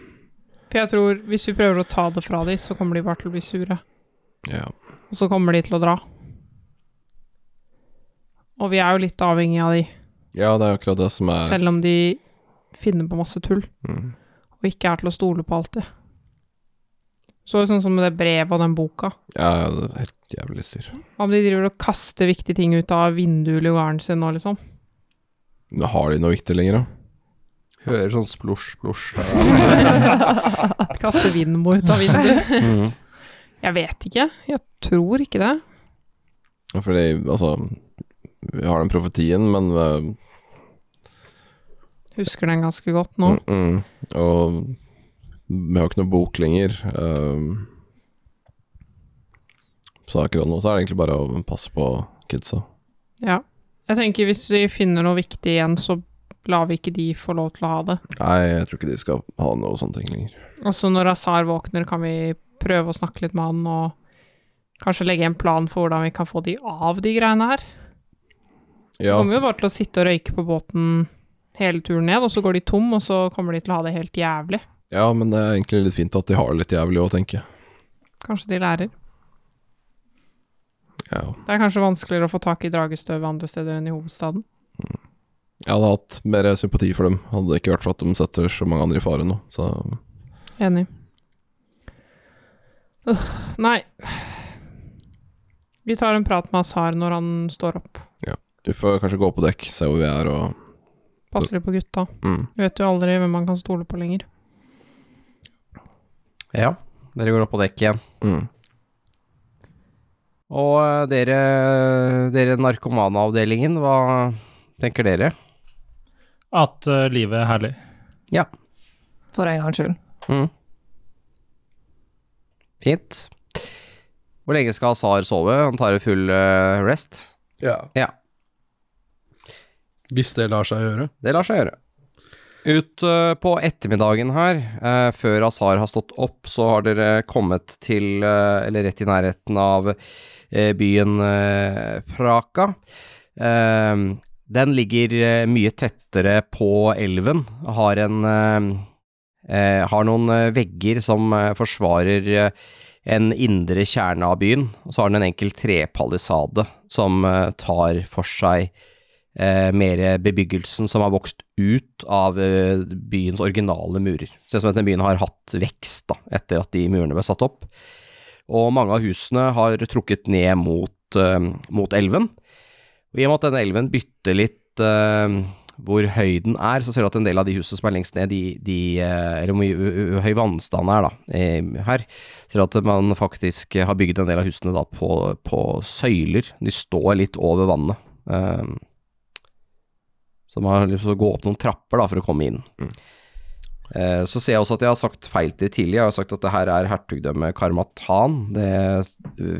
[SPEAKER 8] For jeg tror hvis vi prøver å ta det fra dem, så kommer de bare til å bli sure.
[SPEAKER 4] ja.
[SPEAKER 8] Og så kommer de til å dra. Og vi er jo litt avhengig av de,
[SPEAKER 4] ja, det er akkurat det som er
[SPEAKER 8] selv om de finner på masse tull.
[SPEAKER 4] mm.
[SPEAKER 8] og ikke er til å stole på alltid. Så er det sånn som med det brevet og den boka.
[SPEAKER 4] Ja, det er helt jævlig styr.
[SPEAKER 8] Om de driver og kaster viktige ting ut av vinduet i lugaren sin nå, liksom.
[SPEAKER 4] Men har de noe viktig lenger, da?
[SPEAKER 3] hører sånn splosj, splosj.
[SPEAKER 8] Kaster vindmo ut av vinduet.
[SPEAKER 3] Mm.
[SPEAKER 8] Jeg vet ikke. Jeg tror ikke det.
[SPEAKER 4] Ja, Fordi, altså Vi har den profetien, men eh,
[SPEAKER 8] Husker den ganske godt nå.
[SPEAKER 4] mm, mm, Og vi har ikke noe bok lenger. ehm. så akkurat nå så er det egentlig bare å passe på kidsa.
[SPEAKER 8] Ja. Jeg tenker hvis vi finner noe viktig igjen, så lar vi ikke de få lov til å ha det.
[SPEAKER 4] Nei, jeg tror ikke de skal ha noe sånne ting lenger.
[SPEAKER 8] Og så når Azar våkner, kan vi prøve å snakke litt med han og kanskje legge en plan for hvordan vi kan få de av de greiene her.
[SPEAKER 4] Ja,
[SPEAKER 8] kommer jo bare til å sitte og røyke på båten hele turen ned, og så går de tom, og så kommer de til å ha det helt jævlig.
[SPEAKER 4] ja, men det er egentlig litt fint at de har det litt jævlig òg, tenker jeg.
[SPEAKER 8] Kanskje de lærer.
[SPEAKER 4] Ja, ja.
[SPEAKER 8] Det er kanskje vanskeligere å få tak i dragestøv andre steder enn i hovedstaden.
[SPEAKER 4] Jeg hadde hatt mer sympati for dem, hadde det ikke vært for at de setter så mange andre i fare nå. Så
[SPEAKER 8] Enig. Øh, nei. Vi tar en prat med Azar når han står opp.
[SPEAKER 4] vi får kanskje gå på dekk, se hvor vi er og
[SPEAKER 8] Passer litt på gutta.
[SPEAKER 4] mm.
[SPEAKER 8] Du vet jo aldri hvem man kan stole på lenger.
[SPEAKER 3] Ja, dere går opp på dekk igjen.
[SPEAKER 4] Mm.
[SPEAKER 3] Og eh, dere, dere narkomanaavdelingen, hva tenker dere?
[SPEAKER 5] At eh, livet er herlig.
[SPEAKER 7] For en gangs skyld.
[SPEAKER 3] Fint. Hvor lenge skal Azar sove? Han tar en full eh, rest. Ja.
[SPEAKER 6] Hvis det lar seg gjøre.
[SPEAKER 3] Det lar seg gjøre. Ut eh, på ettermiddagen her, eh, før Azar har stått opp, så har dere kommet til, eh, eller rett i nærheten av eh, byen eh, Praka. Eh, den ligger eh, mye tettere på elven, har en eh, eh, har noen eh, vegger som eh, forsvarer eh, en indre kjerne av byen, og så har den en enkel trepalisade som eh, tar for seg eh, mer bebyggelsen som har vokst ut av eh, byens originale murer. Ser ut som at den byen har hatt vekst da, etter at de murene ble satt opp. Og mange av husene har trukket ned mot, eh, mot elven. Og I og med at denne elven bytter litt eh, hvor høyden er, så ser du at en del av de husene som er lengst ned, de, de, eh, eller hvor mye- hvor høy vannstanden er da, eh, her, ser du at man faktisk har bygd en del av husene da på, på søyler. De står litt over vannet. Eh, så man har lyst til å gå opp noen trapper da, for å komme inn. Eh, Så ser jeg også at jeg har sagt feil til tidlig. Jeg har sagt at det her er hertugdømmet Karmatan. Det er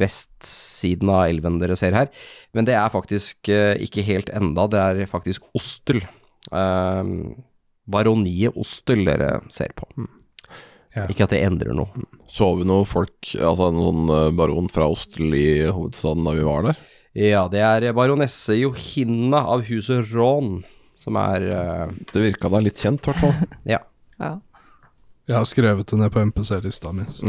[SPEAKER 3] vestsiden av elven dere ser her. Men det er faktisk eh, ikke helt enda. Det er faktisk Ostel. Eh, Baroniet Ostel dere ser på.
[SPEAKER 6] Ja.
[SPEAKER 3] Ikke at det endrer noe.
[SPEAKER 4] Så vi noen folk, altså en sånn eh, baron fra Ostel i hovedstaden da vi var der?
[SPEAKER 3] Ja, det er baronesse Johinna av huset Ron som er eh,
[SPEAKER 4] Det virka da litt kjent, i hvert fall.
[SPEAKER 3] Ja.
[SPEAKER 6] Jeg har skrevet det ned på MPC-lista mi. Så.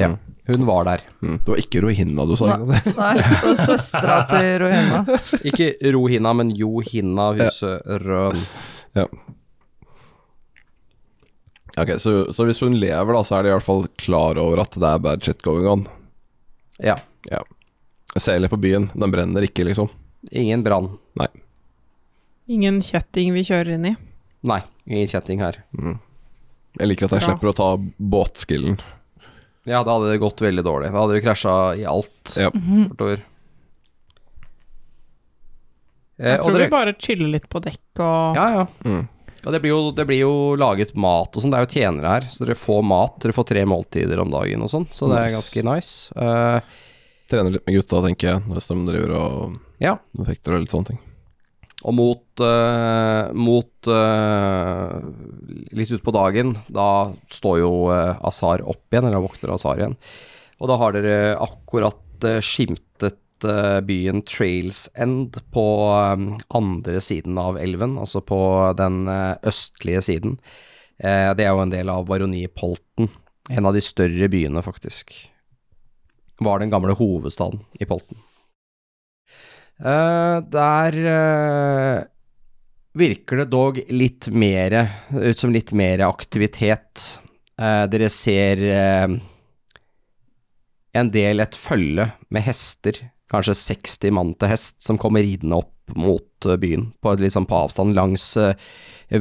[SPEAKER 3] ja. Hun var der.
[SPEAKER 4] Mm. Det var ikke Rohina du sa? ikke sant?
[SPEAKER 7] Nei, og søstera til Rohena.
[SPEAKER 3] Ikke Rohina, men Johinna av huset Røn.
[SPEAKER 4] Ok, så, så hvis hun lever, da, så er de i hvert fall klar over at det er bad shit going on.
[SPEAKER 3] Ja.
[SPEAKER 4] Jeg ser litt på byen, den brenner ikke, liksom.
[SPEAKER 3] Ingen brann.
[SPEAKER 8] Ingen kjetting vi kjører inn i.
[SPEAKER 3] Eh, Nei, ingen kjetting her.
[SPEAKER 4] Jeg liker at jeg
[SPEAKER 8] Bra.
[SPEAKER 4] slipper å ta båtskillen.
[SPEAKER 3] Ja, da hadde det gått veldig dårlig. Da hadde det krasja i alt.
[SPEAKER 4] Ja.
[SPEAKER 8] Mhm.
[SPEAKER 3] bortover. Eh,
[SPEAKER 8] Jeg
[SPEAKER 3] og
[SPEAKER 8] tror
[SPEAKER 3] dere,
[SPEAKER 8] vi bare chiller litt på dekk og
[SPEAKER 3] ja, ja.
[SPEAKER 4] Mm.
[SPEAKER 3] Og det blir, jo, det blir jo laget mat og sånn. Det er jo tjenere her, så dere får mat. Dere får tre måltider om dagen og sånn, så det er
[SPEAKER 4] Nice.
[SPEAKER 3] ganske nice. Eh,
[SPEAKER 4] Trener litt med gutta, tenker jeg, hvis de driver og
[SPEAKER 3] ja.
[SPEAKER 4] fekter og litt sånne ting.
[SPEAKER 3] Og mot, eh, mot eh, litt utpå dagen, da står jo eh, Azar opp igjen, eller våkner Azar igjen. Og da har dere akkurat eh, skimtet eh, byen Trails End på eh, andre siden av elven, altså på den eh, østlige siden. Eh, det er jo en del av baroniet Polten, en av de større byene faktisk. Var den gamle hovedstaden i Polten. Eh, der eh, virker det dog litt mer ut som litt mer aktivitet. Eh, dere ser eh, en del et følge med hester, kanskje 60 mann til hest, som kommer ridende opp mot eh, byen, på, et litt sånn på avstand langs eh,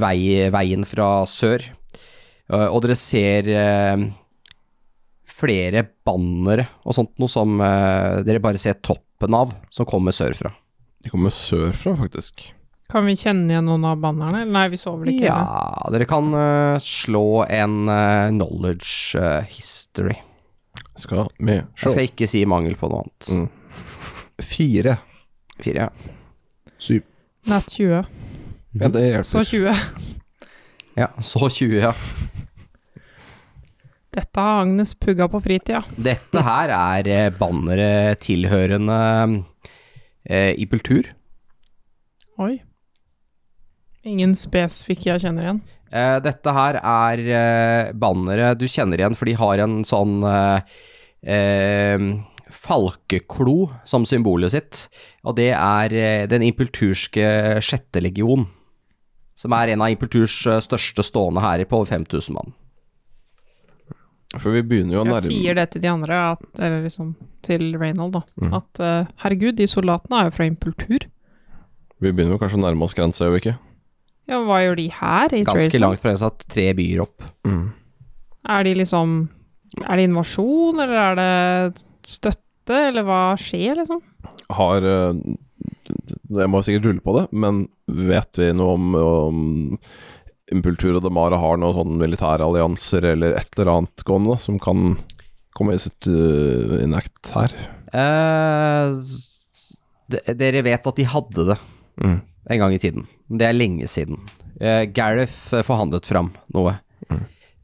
[SPEAKER 3] vei, veien fra sør. Eh, og dere ser eh, flere bannere og sånt noe som eh, dere bare ser toppen av, som kommer sørfra.
[SPEAKER 4] De kommer sørfra, faktisk.
[SPEAKER 8] Kan vi kjenne igjen noen av bannerne? Nei, vi så vel ikke det.
[SPEAKER 3] Ja, dere kan eh, slå en eh, knowledge eh, history.
[SPEAKER 4] Skal vi
[SPEAKER 3] Jeg
[SPEAKER 4] se
[SPEAKER 3] skal ikke si mangel på noe annet.
[SPEAKER 4] Mm. Fire.
[SPEAKER 3] Fire.
[SPEAKER 6] Syv.
[SPEAKER 8] Natt 20.
[SPEAKER 4] Ja, det
[SPEAKER 8] Mhm. Så
[SPEAKER 4] hjelper.
[SPEAKER 8] 20.
[SPEAKER 3] Ja, så 20, ja.
[SPEAKER 8] Dette har Agnes pugga på fritida.
[SPEAKER 3] Dette her er eh, bannere tilhørende eh, i kultur.
[SPEAKER 8] Oi. Ingen spesifikke jeg kjenner igjen.
[SPEAKER 3] Eh, dette her er eh, bannere du kjenner igjen, for de har en sånn eh, eh, falkeklo som symbolet sitt. Og det er eh, den impulturske sjette legion, som er en av impulturs eh, største stående hærer på over 5000 mann.
[SPEAKER 4] For vi begynner jo å
[SPEAKER 8] Jeg
[SPEAKER 4] nærme
[SPEAKER 8] sier det til de andre, at, eller liksom til Reynold, da.
[SPEAKER 3] Mm.
[SPEAKER 8] At eh, herregud, de soldatene er jo fra impultur.
[SPEAKER 4] Vi begynner jo kanskje å nærme oss grensa, gjør vi ikke?
[SPEAKER 8] Ja, hva gjør de her i
[SPEAKER 3] Ganske
[SPEAKER 8] Trailsland?
[SPEAKER 3] langt fra satt tre byer opp.
[SPEAKER 4] Mm.
[SPEAKER 8] Er de liksom Er det invasjon, eller er det støtte, eller hva skjer, liksom?
[SPEAKER 4] Har eh, Jeg må sikkert rulle på det, men vet vi noe om, om Impultur og Damara har noen sånne militære allianser eller et eller annet gående da, som kan komme i sitt eh, in act her?
[SPEAKER 3] Eh, d- dere vet at de hadde det
[SPEAKER 4] Mm.
[SPEAKER 3] en gang i tiden. Men Det er lenge siden. Uh, Gareth eh, forhandlet fram noe.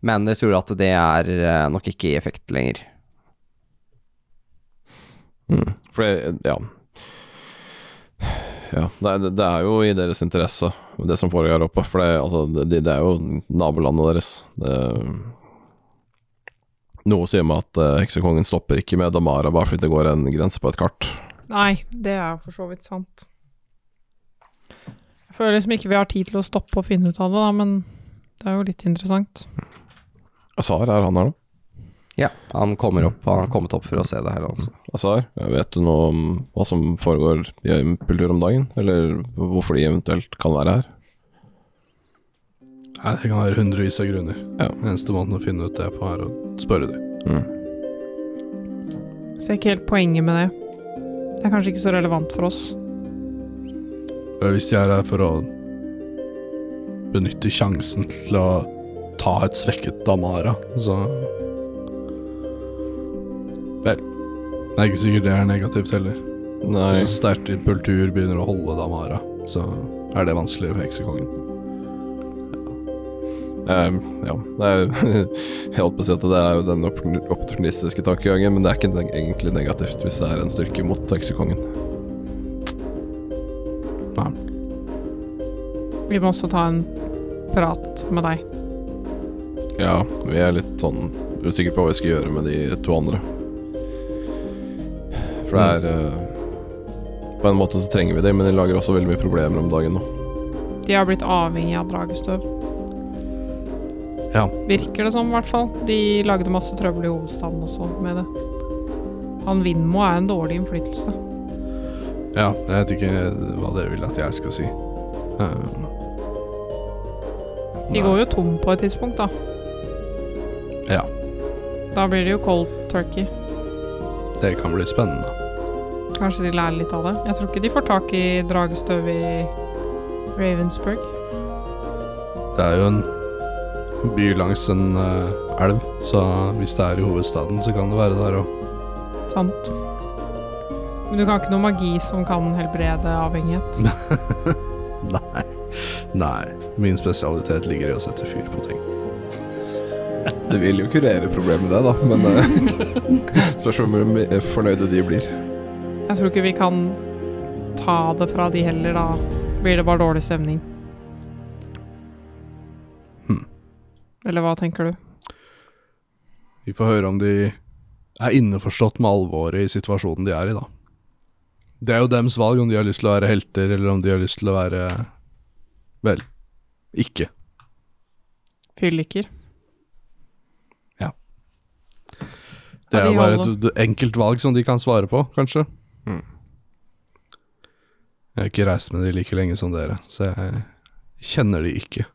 [SPEAKER 3] Men jeg tror at det er eh, nok ikke i effekt lenger.
[SPEAKER 4] Mm. For det, ja Ja, det, er- det er jo i deres interesse, det som foregår her oppe. For det, altså, det, det er jo nabolandet deres. Det, noe sier meg at eh, heksekongen stopper ikke med Damara bare fordi det går en grense på et kart.
[SPEAKER 8] Nei, det er for så vidt sant. Jeg føler liksom ikke vi har tid til å stoppe og finne ut av det, da, men det er jo litt interessant.
[SPEAKER 4] Azar, er han her nå?
[SPEAKER 3] Ja, han kommer opp. Han har kommet opp for å se det her, altså.
[SPEAKER 4] Azar, vet du noe om hva som foregår i kultur om dagen? Eller hvorfor de eventuelt kan være her?
[SPEAKER 6] Nei, det kan være hundrevis av grunner.
[SPEAKER 4] Ja.
[SPEAKER 6] Eneste måten å finne ut det på, er å spørre dem.
[SPEAKER 8] Ser ikke helt poenget med det. Det er kanskje ikke så relevant for oss.
[SPEAKER 6] Eh, Hvis de er her for å benytte sjansen til å ta et svekket Damara, så Vel. Det er ikke sikkert det er negativt heller.
[SPEAKER 4] Nei,
[SPEAKER 6] Hvis en sterkt impultur begynner å holde Damara, så er det vanskeligere for heksekongen.
[SPEAKER 4] eh, ja det er, jo- Jeg holdt på å si at det er jo den opportun- opportunistiske tankegangen, men det er ikke neg- egentlig negativt hvis det er en styrke mot heksekongen.
[SPEAKER 6] Nei.
[SPEAKER 8] Vi må også ta en prat med deg.
[SPEAKER 4] Ja, vi er litt sånn usikre på hva vi skal gjøre med de to andre. For det er eh, På en måte så trenger vi det, men de lager også veldig mye problemer om dagen nå.
[SPEAKER 8] De har blitt avhengig av dragestøv.
[SPEAKER 6] Ja.
[SPEAKER 8] Virker det som, i hvert fall. De lagde masse trøbbel i hovedstaden også med det. Han Vindmo er en dårlig innflytelse.
[SPEAKER 6] Ja, jeg vet ikke hva dere vil at jeg skal si. Eh,
[SPEAKER 8] De går jo tom på et tidspunkt, da.
[SPEAKER 6] ja.
[SPEAKER 8] Da blir det jo cold turkey.
[SPEAKER 6] Det kan bli spennende.
[SPEAKER 8] Kanskje de lærer litt av det. Jeg tror ikke de får tak i dragestøv i Ravensburg.
[SPEAKER 6] Det er jo en by langs en eh, elv, så hvis det er i hovedstaden, så kan det være der òg.
[SPEAKER 8] Sant. Men du kan ikke noe magi som kan helbrede avhengighet.
[SPEAKER 6] Nei. Nei. Min spesialitet ligger i å sette fyr på ting.
[SPEAKER 4] Det vil jo kurere problemet, det, da, men eh, Spørs om hvor eh, fornøyde de blir.
[SPEAKER 8] Jeg tror ikke vi kan ta det fra de heller, da blir det bare dårlig stemning.
[SPEAKER 6] Hmm.
[SPEAKER 8] Eller hva tenker du?
[SPEAKER 6] Vi får høre om de er innforstått med alvoret i situasjonen de er i, da. Det er jo dems valg om de har lyst til å være helter, eller om de har lyst til å være Vel, ikke.
[SPEAKER 8] Fylliker?
[SPEAKER 6] Det
[SPEAKER 8] Ja,
[SPEAKER 6] er
[SPEAKER 8] de
[SPEAKER 6] jo bare
[SPEAKER 8] holder.
[SPEAKER 6] et et enkelt valg som de kan svare på, kanskje.
[SPEAKER 4] Mm.
[SPEAKER 6] Jeg har ikke reist med de like lenge som dere, så jeg kjenner de ikke.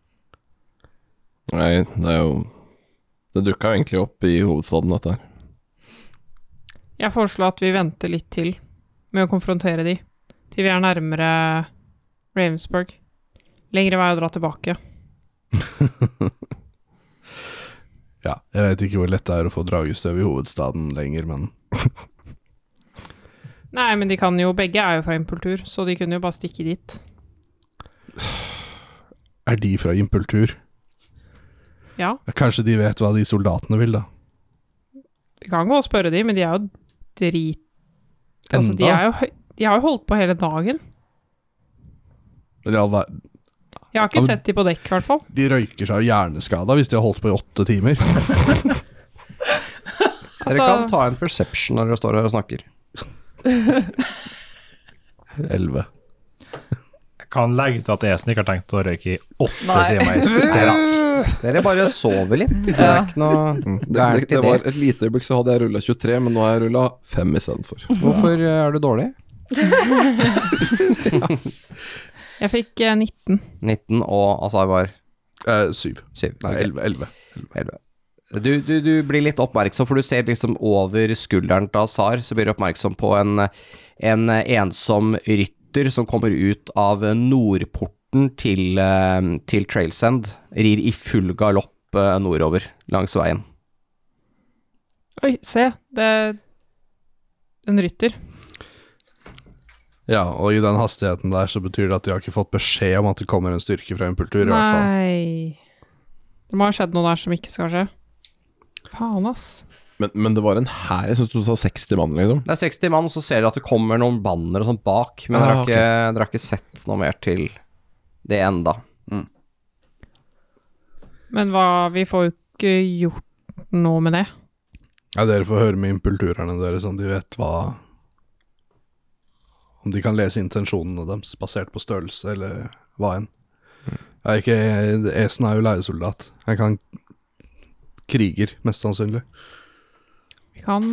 [SPEAKER 4] Nei, det er jo Det dukka jo egentlig opp i hovedstaden, dette her.
[SPEAKER 8] Jeg foreslår at vi venter litt til med å konfrontere de, til vi er nærmere Ravensburg. Lengre vei å dra tilbake.
[SPEAKER 6] Ja, jeg vet ikke hvor lett det er å få dragestøv i hovedstaden lenger, men
[SPEAKER 8] Nei, men de kan jo, begge er jo fra impultur, så de kunne jo bare stikke dit.
[SPEAKER 6] er de fra impultur?
[SPEAKER 8] Ja,
[SPEAKER 6] Kanskje de vet hva de soldatene vil, da?
[SPEAKER 8] vi kan gå og spørre de, men de er jo drit... Altså, de,
[SPEAKER 6] Enda?
[SPEAKER 8] er jo, høy- de har jo holdt på hele dagen.
[SPEAKER 6] Men i all ver-
[SPEAKER 8] Jeg
[SPEAKER 6] Ja,
[SPEAKER 8] har ikke
[SPEAKER 6] men-
[SPEAKER 8] sett de på dekk, i hvert fall.
[SPEAKER 6] De røyker seg jo hjerneskada hvis de har holdt på i åtte timer.
[SPEAKER 3] Dere kan
[SPEAKER 8] Altså-
[SPEAKER 3] ta en perception når dere står her og snakker.
[SPEAKER 6] Elleve.
[SPEAKER 5] Jeg kan legge til at Esen ikke har tenkt å røyke i åtte
[SPEAKER 7] Nei.
[SPEAKER 5] timer.
[SPEAKER 3] Neida. Dere bare sover litt. Det er
[SPEAKER 7] Ja.
[SPEAKER 3] ikke noe
[SPEAKER 4] Det, Mm. det,
[SPEAKER 3] gærent i
[SPEAKER 4] det
[SPEAKER 3] det.
[SPEAKER 4] var et lite øyeblikk så hadde jeg rulla 23, men nå har jeg rulla 5 istedenfor.
[SPEAKER 3] Hvorfor eh, er du dårlig?
[SPEAKER 8] Jeg fikk eh, 19.
[SPEAKER 3] 19 og Azar var
[SPEAKER 6] Eh, syv.
[SPEAKER 3] 7.
[SPEAKER 6] Nei, elleve. elleve.
[SPEAKER 3] Du, du, du blir litt oppmerksom, for du ser liksom over skulderen til Azar, så blir du oppmerksom på en, en ensom rytter som kommer ut av nordporten til, eh, til Trailsend. Rir i full galopp eh, nordover langs veien.
[SPEAKER 8] Oi, se, det er en rytter.
[SPEAKER 6] Ja, og i den hastigheten der så betyr det at de har ikke fått beskjed om at det kommer en styrke fra impultur, i hvert fall.
[SPEAKER 8] Nei. Det må ha skjedd noe der som ikke skal skje. Faen, ass.
[SPEAKER 4] Men, men det var en hær. Jeg syns du sa 60 mann, liksom.
[SPEAKER 3] Det er 60 mann, og så ser dere at det kommer noen banner og sånn bak, men dere,
[SPEAKER 4] Ah,
[SPEAKER 3] har
[SPEAKER 4] ok.
[SPEAKER 3] ikke, dere har ikke sett noe mer til det enda.
[SPEAKER 8] Men hva, vi får jo ikke gjort noe med det.
[SPEAKER 6] Ja, dere får høre med impulturerne deres om de vet hva Om de kan lese intensjonene deres basert på størrelse eller hva enn.
[SPEAKER 4] Mm.
[SPEAKER 6] Jeg er ikke Esen er jo leiesoldat. Jeg kan kriger, mest sannsynlig.
[SPEAKER 8] Vi kan,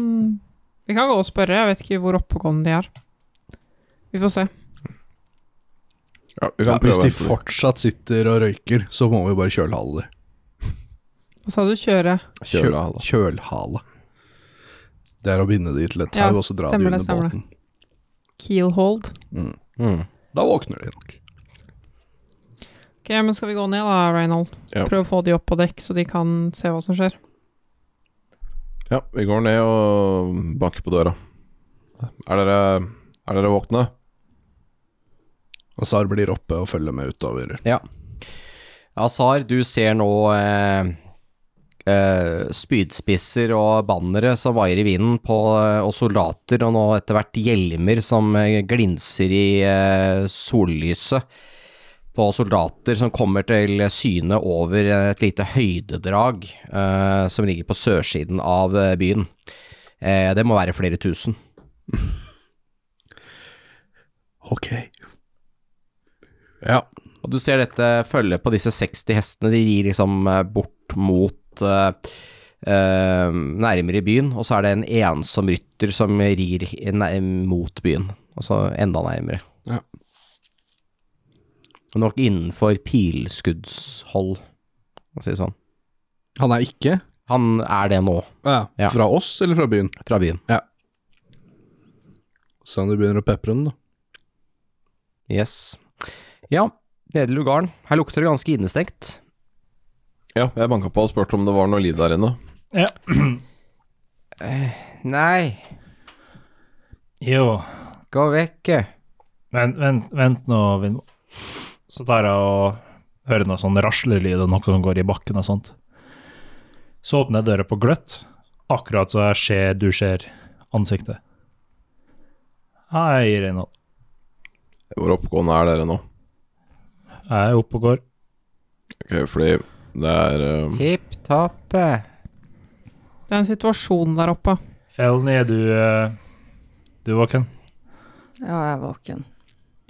[SPEAKER 8] vi kan gå og spørre, jeg vet ikke hvor oppegående de er. Vi får se.
[SPEAKER 4] Ja, vi
[SPEAKER 6] Ja,
[SPEAKER 4] kan prøve å
[SPEAKER 6] hvis de
[SPEAKER 4] vente litt.
[SPEAKER 6] fortsatt sitter og røyker, så må vi bare kjølhale dem.
[SPEAKER 8] Hva sa du, kjøre?
[SPEAKER 4] Kjøla, da.
[SPEAKER 6] Kjølhale. Det er å binde de til et
[SPEAKER 8] Ja,
[SPEAKER 6] tau, og så dra de
[SPEAKER 8] stemmer det,
[SPEAKER 6] under
[SPEAKER 8] stemmer det.
[SPEAKER 6] båten.
[SPEAKER 8] Keel hold.
[SPEAKER 6] Da våkner de nok.
[SPEAKER 8] Ok, men skal vi gå ned da, Reynold?
[SPEAKER 4] Ja.
[SPEAKER 8] Prøv å få de opp på dekk, så de kan se hva som skjer.
[SPEAKER 4] Ja, vi går ned og banker på døra. Er dere, er dere våkne?
[SPEAKER 6] Og Sar blir oppe og følger med utover.
[SPEAKER 3] Ja. Azar, du ser nå eh, eh, spydspisser og bannere som vaier i vinden, på, eh, og soldater, og nå etter hvert hjelmer som eh, glinser i eh, sollyset. På soldater som kommer til syne over et lite høydedrag eh, som ligger på sørsiden av eh, byen. Eh, det må være flere tusen.
[SPEAKER 6] Ok. Ja.
[SPEAKER 3] Og du ser dette følge på disse 60 hestene, de gir liksom eh, bort mot eh, eh, nærmere byen, og så er det en ensom rytter som rir i- nei- mot byen, altså enda nærmere.
[SPEAKER 6] Ja.
[SPEAKER 3] Og nok innenfor pilskuddshold, for å si det sånn.
[SPEAKER 6] Han er ikke
[SPEAKER 3] Han er det nå,
[SPEAKER 6] Ja.
[SPEAKER 3] Ja.
[SPEAKER 6] Fra oss eller fra byen?
[SPEAKER 3] fra byen.
[SPEAKER 6] Se om de begynner å pepre den, da.
[SPEAKER 3] Yes. Ja, nede i lugaren. Her lukter det ganske innestengt.
[SPEAKER 4] Ja, jeg banka på og spurte om det var noe liv der inne.
[SPEAKER 5] Ja.
[SPEAKER 3] Nei,
[SPEAKER 5] Jo,
[SPEAKER 3] gå vekk.
[SPEAKER 5] vent, vent, vent nå, Vindmo. Så tar jeg og hører noe sånn raslelyd og noe som går i bakken og sånt. Så åpner jeg døra på gløtt, akkurat så jeg ser du ser ansiktet. Hei, Reinhold.
[SPEAKER 4] Hvor oppegående er dere nå?
[SPEAKER 5] Jeg er oppe og går.
[SPEAKER 4] Ok, fordi det er eh,
[SPEAKER 3] Tipp topp.
[SPEAKER 8] Det er en situasjon der oppe.
[SPEAKER 5] Felny, er du eh, Du er våken?
[SPEAKER 7] Ja, jeg er våken.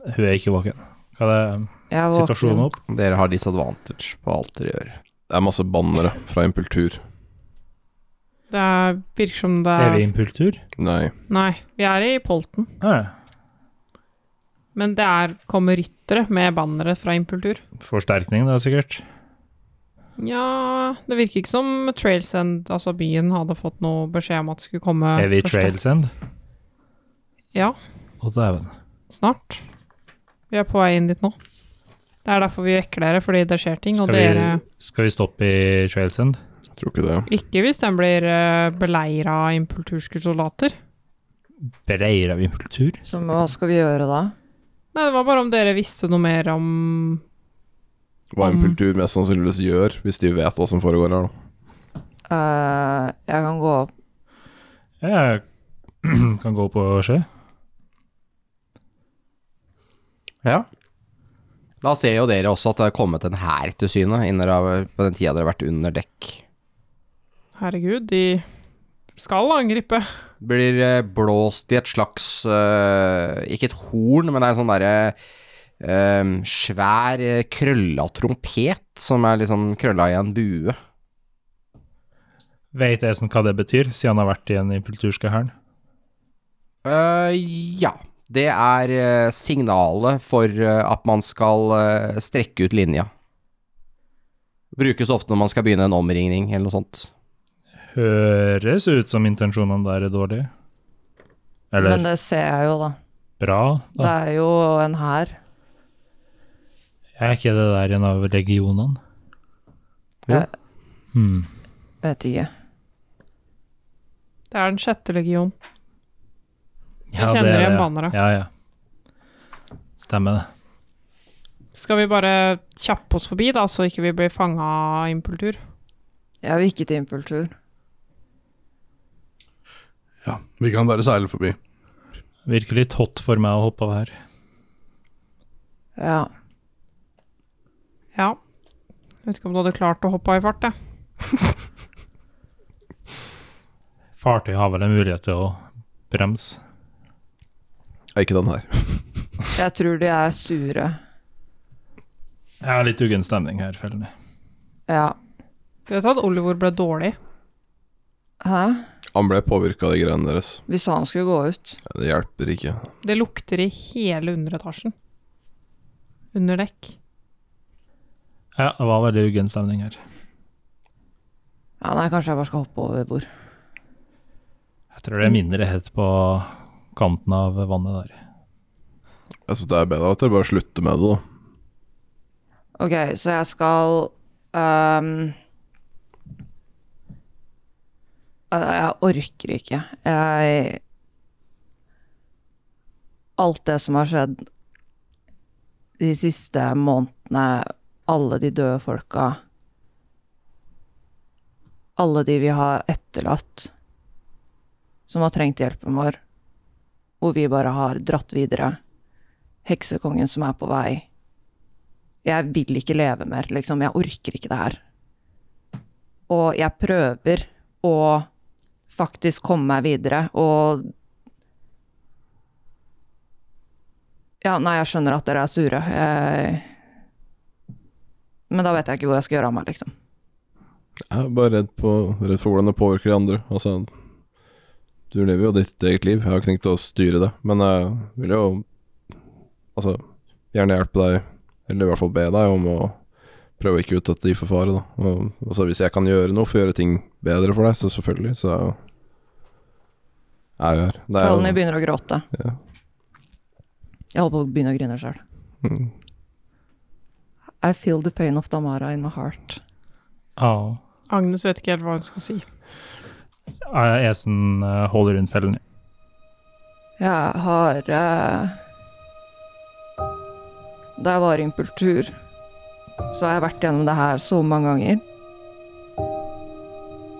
[SPEAKER 5] Hun er ikke våken. Hva er det?
[SPEAKER 7] Jeg er våken.
[SPEAKER 5] situasjonen opp?
[SPEAKER 3] Dere har disadvantage på alt dere gjør.
[SPEAKER 4] Det er masse bannere fra Impultur.
[SPEAKER 8] Det er, virker som det
[SPEAKER 5] Er
[SPEAKER 8] er
[SPEAKER 5] vi i impultur?
[SPEAKER 4] Nei.
[SPEAKER 8] Nei, vi er i Polten.
[SPEAKER 5] Ah,
[SPEAKER 8] Men det er, kommer ryttere med bannere fra Impultur.
[SPEAKER 5] forsterkning, da, sikkert.
[SPEAKER 8] Nja, det virker ikke som Trails End, altså byen, hadde fått noe beskjed om at det skulle komme
[SPEAKER 5] Er vi i
[SPEAKER 8] første-
[SPEAKER 5] Trails End?
[SPEAKER 8] Ja,
[SPEAKER 5] Å, dæven.
[SPEAKER 8] snart. Vi er på vei inn dit nå. Det er derfor vi vekker dere, fordi det skjer ting, og
[SPEAKER 5] Skal,
[SPEAKER 8] dere
[SPEAKER 5] vi- skal vi stoppe i Trails End?
[SPEAKER 4] Jeg tror ikke det.
[SPEAKER 8] Ikke hvis den blir uh, beleira av impulturske soldater.
[SPEAKER 5] Breier av impultur?
[SPEAKER 7] Så hva skal vi gjøre da?
[SPEAKER 8] Nei, det var bare om dere visste noe mer om
[SPEAKER 4] Hva
[SPEAKER 8] Om-
[SPEAKER 4] Impultur mest sannsynligvis gjør, hvis de vet hva som foregår her, da.
[SPEAKER 7] Eh, jeg kan gå opp.
[SPEAKER 5] Jeg kan gå opp og se.
[SPEAKER 3] Ja. Da ser jo dere også at det har kommet en hær til syne innen dere har- på den tida dere har vært under dekk.
[SPEAKER 8] Herregud, de skal angripe.
[SPEAKER 3] Blir eh, blåst i et slags eh, Ikke et horn, men det er en sånn derre eh, svær, eh, krølla trompet, som er liksom krølla i en bue.
[SPEAKER 5] Veit Esen hva det betyr, siden han har vært i den impulturske hæren?
[SPEAKER 3] Eh, ja. Det er eh, signalet for eh, at man skal eh, strekke ut linja. Brukes ofte når man skal begynne en omringning eller noe sånt.
[SPEAKER 5] Høres ut som intensjonene der er dårlige. Eller
[SPEAKER 7] Men det ser jeg jo, da.
[SPEAKER 5] bra,
[SPEAKER 7] Det
[SPEAKER 5] da.
[SPEAKER 7] er jo en hær.
[SPEAKER 5] Er ikke det der en av regionene?
[SPEAKER 3] Jo.
[SPEAKER 7] Jeg
[SPEAKER 5] Hmm.
[SPEAKER 7] vet ikke.
[SPEAKER 8] Det er den sjette legion.
[SPEAKER 5] Ja, det
[SPEAKER 8] Jeg kjenner
[SPEAKER 5] er
[SPEAKER 8] igjen
[SPEAKER 5] det, ja.
[SPEAKER 8] bannere.
[SPEAKER 5] Ja, ja. Stemmer det.
[SPEAKER 8] Skal vi bare kjappe oss forbi, da, så ikke vi blir fanga av impultur?
[SPEAKER 7] Jeg vil ikke til impultur.
[SPEAKER 6] Ja, vi kan bare seile forbi.
[SPEAKER 5] Virker litt hot for meg å hoppe av her.
[SPEAKER 7] Ja.
[SPEAKER 8] Ja. Jeg vet ikke om du hadde klart å hoppe av i fart, jeg.
[SPEAKER 5] Fartøy har vel en mulighet til å bremse.
[SPEAKER 4] Ja, Ikke den her.
[SPEAKER 7] Jeg tror de er sure.
[SPEAKER 5] Jeg har litt uggen stemning her, Fellene.
[SPEAKER 7] Ja.
[SPEAKER 8] Du vet at Olivor ble dårlig?
[SPEAKER 7] Hæ?
[SPEAKER 4] Han ble påvirka av de greiene deres.
[SPEAKER 7] Vi sa han skulle gå ut.
[SPEAKER 4] Det hjelper ikke.
[SPEAKER 8] Det lukter i hele underetasjen. Under dekk.
[SPEAKER 5] Ja, det var veldig uggen stemning her.
[SPEAKER 7] Ja, nei, kanskje jeg bare skal hoppe over bord.
[SPEAKER 5] Jeg tror det er mindre hett på kanten av vannet der.
[SPEAKER 4] Jeg synes det er bedre at dere bare slutter med det, da.
[SPEAKER 7] Ok, så jeg skal ehm, eh, Jeg orker ikke. Jeg Alt det som har skjedd de siste månedene, alle de døde folka Alle de vi har etterlatt, som har trengt hjelpen vår, hvor vi bare har dratt videre. Heksekongen som er på vei. Jeg vil ikke leve mer, liksom. Jeg orker ikke det her. Og jeg prøver å faktisk komme meg videre, og Ja, nei, jeg skjønner at dere er sure. Jeg... Men da vet jeg ikke hvor jeg skal gjøre av meg, liksom.
[SPEAKER 4] Jeg er bare redd, på, redd for hvordan det påvirker de andre. Altså, du lever jo ditt eget liv. Jeg har ikke tenkt å styre det, men jeg vil jo altså, gjerne hjelpe deg, eller i hvert fall be deg om å prøver ikke ut at de får fare, da. Og, og så hvis jeg kan gjøre noe for å gjøre ting bedre for deg, så selvfølgelig, så er jo Jeg gjør det. er jo-
[SPEAKER 7] Falny begynner å gråte.
[SPEAKER 4] Ja.
[SPEAKER 7] Jeg holder på å begynne å grine sjøl.
[SPEAKER 4] Mm.
[SPEAKER 7] I feel the pain of Damara in my heart.
[SPEAKER 5] Ah.
[SPEAKER 8] Agnes vet ikke helt hva hun skal si.
[SPEAKER 5] Eh, Esen eh, holder rundt fellen.
[SPEAKER 7] Jeg har eh, Da jeg var i impultur, så har jeg vært gjennom det her så mange ganger.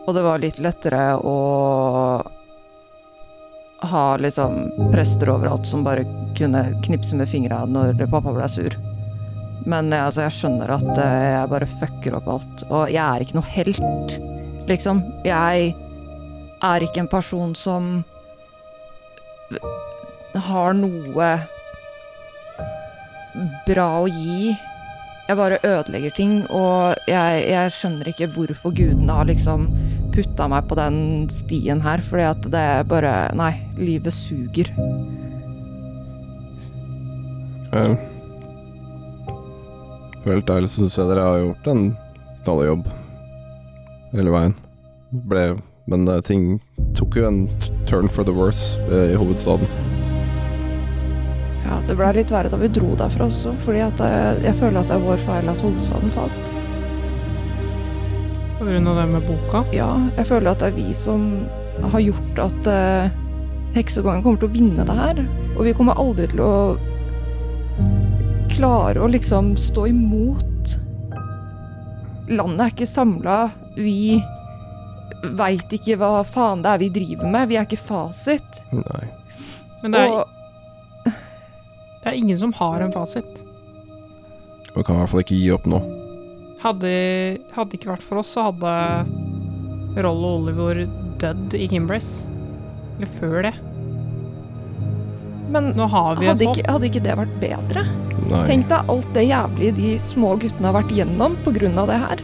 [SPEAKER 7] Og det var litt lettere å ha liksom prester overalt som bare kunne knipse med fingra når pappa ble sur. Men jeg, altså, jeg skjønner at eh, jeg bare fucker opp alt. Og jeg er ikke noe helt, liksom. Jeg er ikke en person som har noe bra å gi. Jeg bare ødelegger ting, og jeg, jeg skjønner ikke hvorfor gudene har liksom putta meg på den stien her, fordi at det er bare Nei, livet suger.
[SPEAKER 4] Vel For helt ærlig så syns jeg dere har gjort en knalljobb hele veien. Ble, men eh, ting tok jo en t- turn for the worse eh, i hovedstaden.
[SPEAKER 7] Ja, det blei litt verre da vi dro derfra også, fordi at jeg, jeg føler at det er vår feil at hovedstaden falt.
[SPEAKER 8] På grunn av det med boka.
[SPEAKER 7] Ja, jeg føler at det er vi som har gjort at eh, heksegangen kommer til å vinne det her. Og vi kommer aldri til å klare å liksom stå imot. Landet er ikke samla. Vi veit ikke hva faen det er vi driver med. Vi er ikke fasit.
[SPEAKER 4] Nei.
[SPEAKER 8] Men det er,
[SPEAKER 7] og
[SPEAKER 8] det er ingen som har en fasit.
[SPEAKER 4] Vi kan i hvert fall ikke gi opp nå.
[SPEAKER 8] Hadde hadde det ikke vært for oss, så hadde Rollo og Oliver dødd i Kimbris. Eller før det.
[SPEAKER 7] Men
[SPEAKER 8] Nå har vi et
[SPEAKER 7] hadde
[SPEAKER 8] håp.
[SPEAKER 7] ikke, hadde ikke det vært bedre?
[SPEAKER 4] Nei.
[SPEAKER 7] Tenk deg alt det jævlige de små guttene har vært gjennom pga. det her.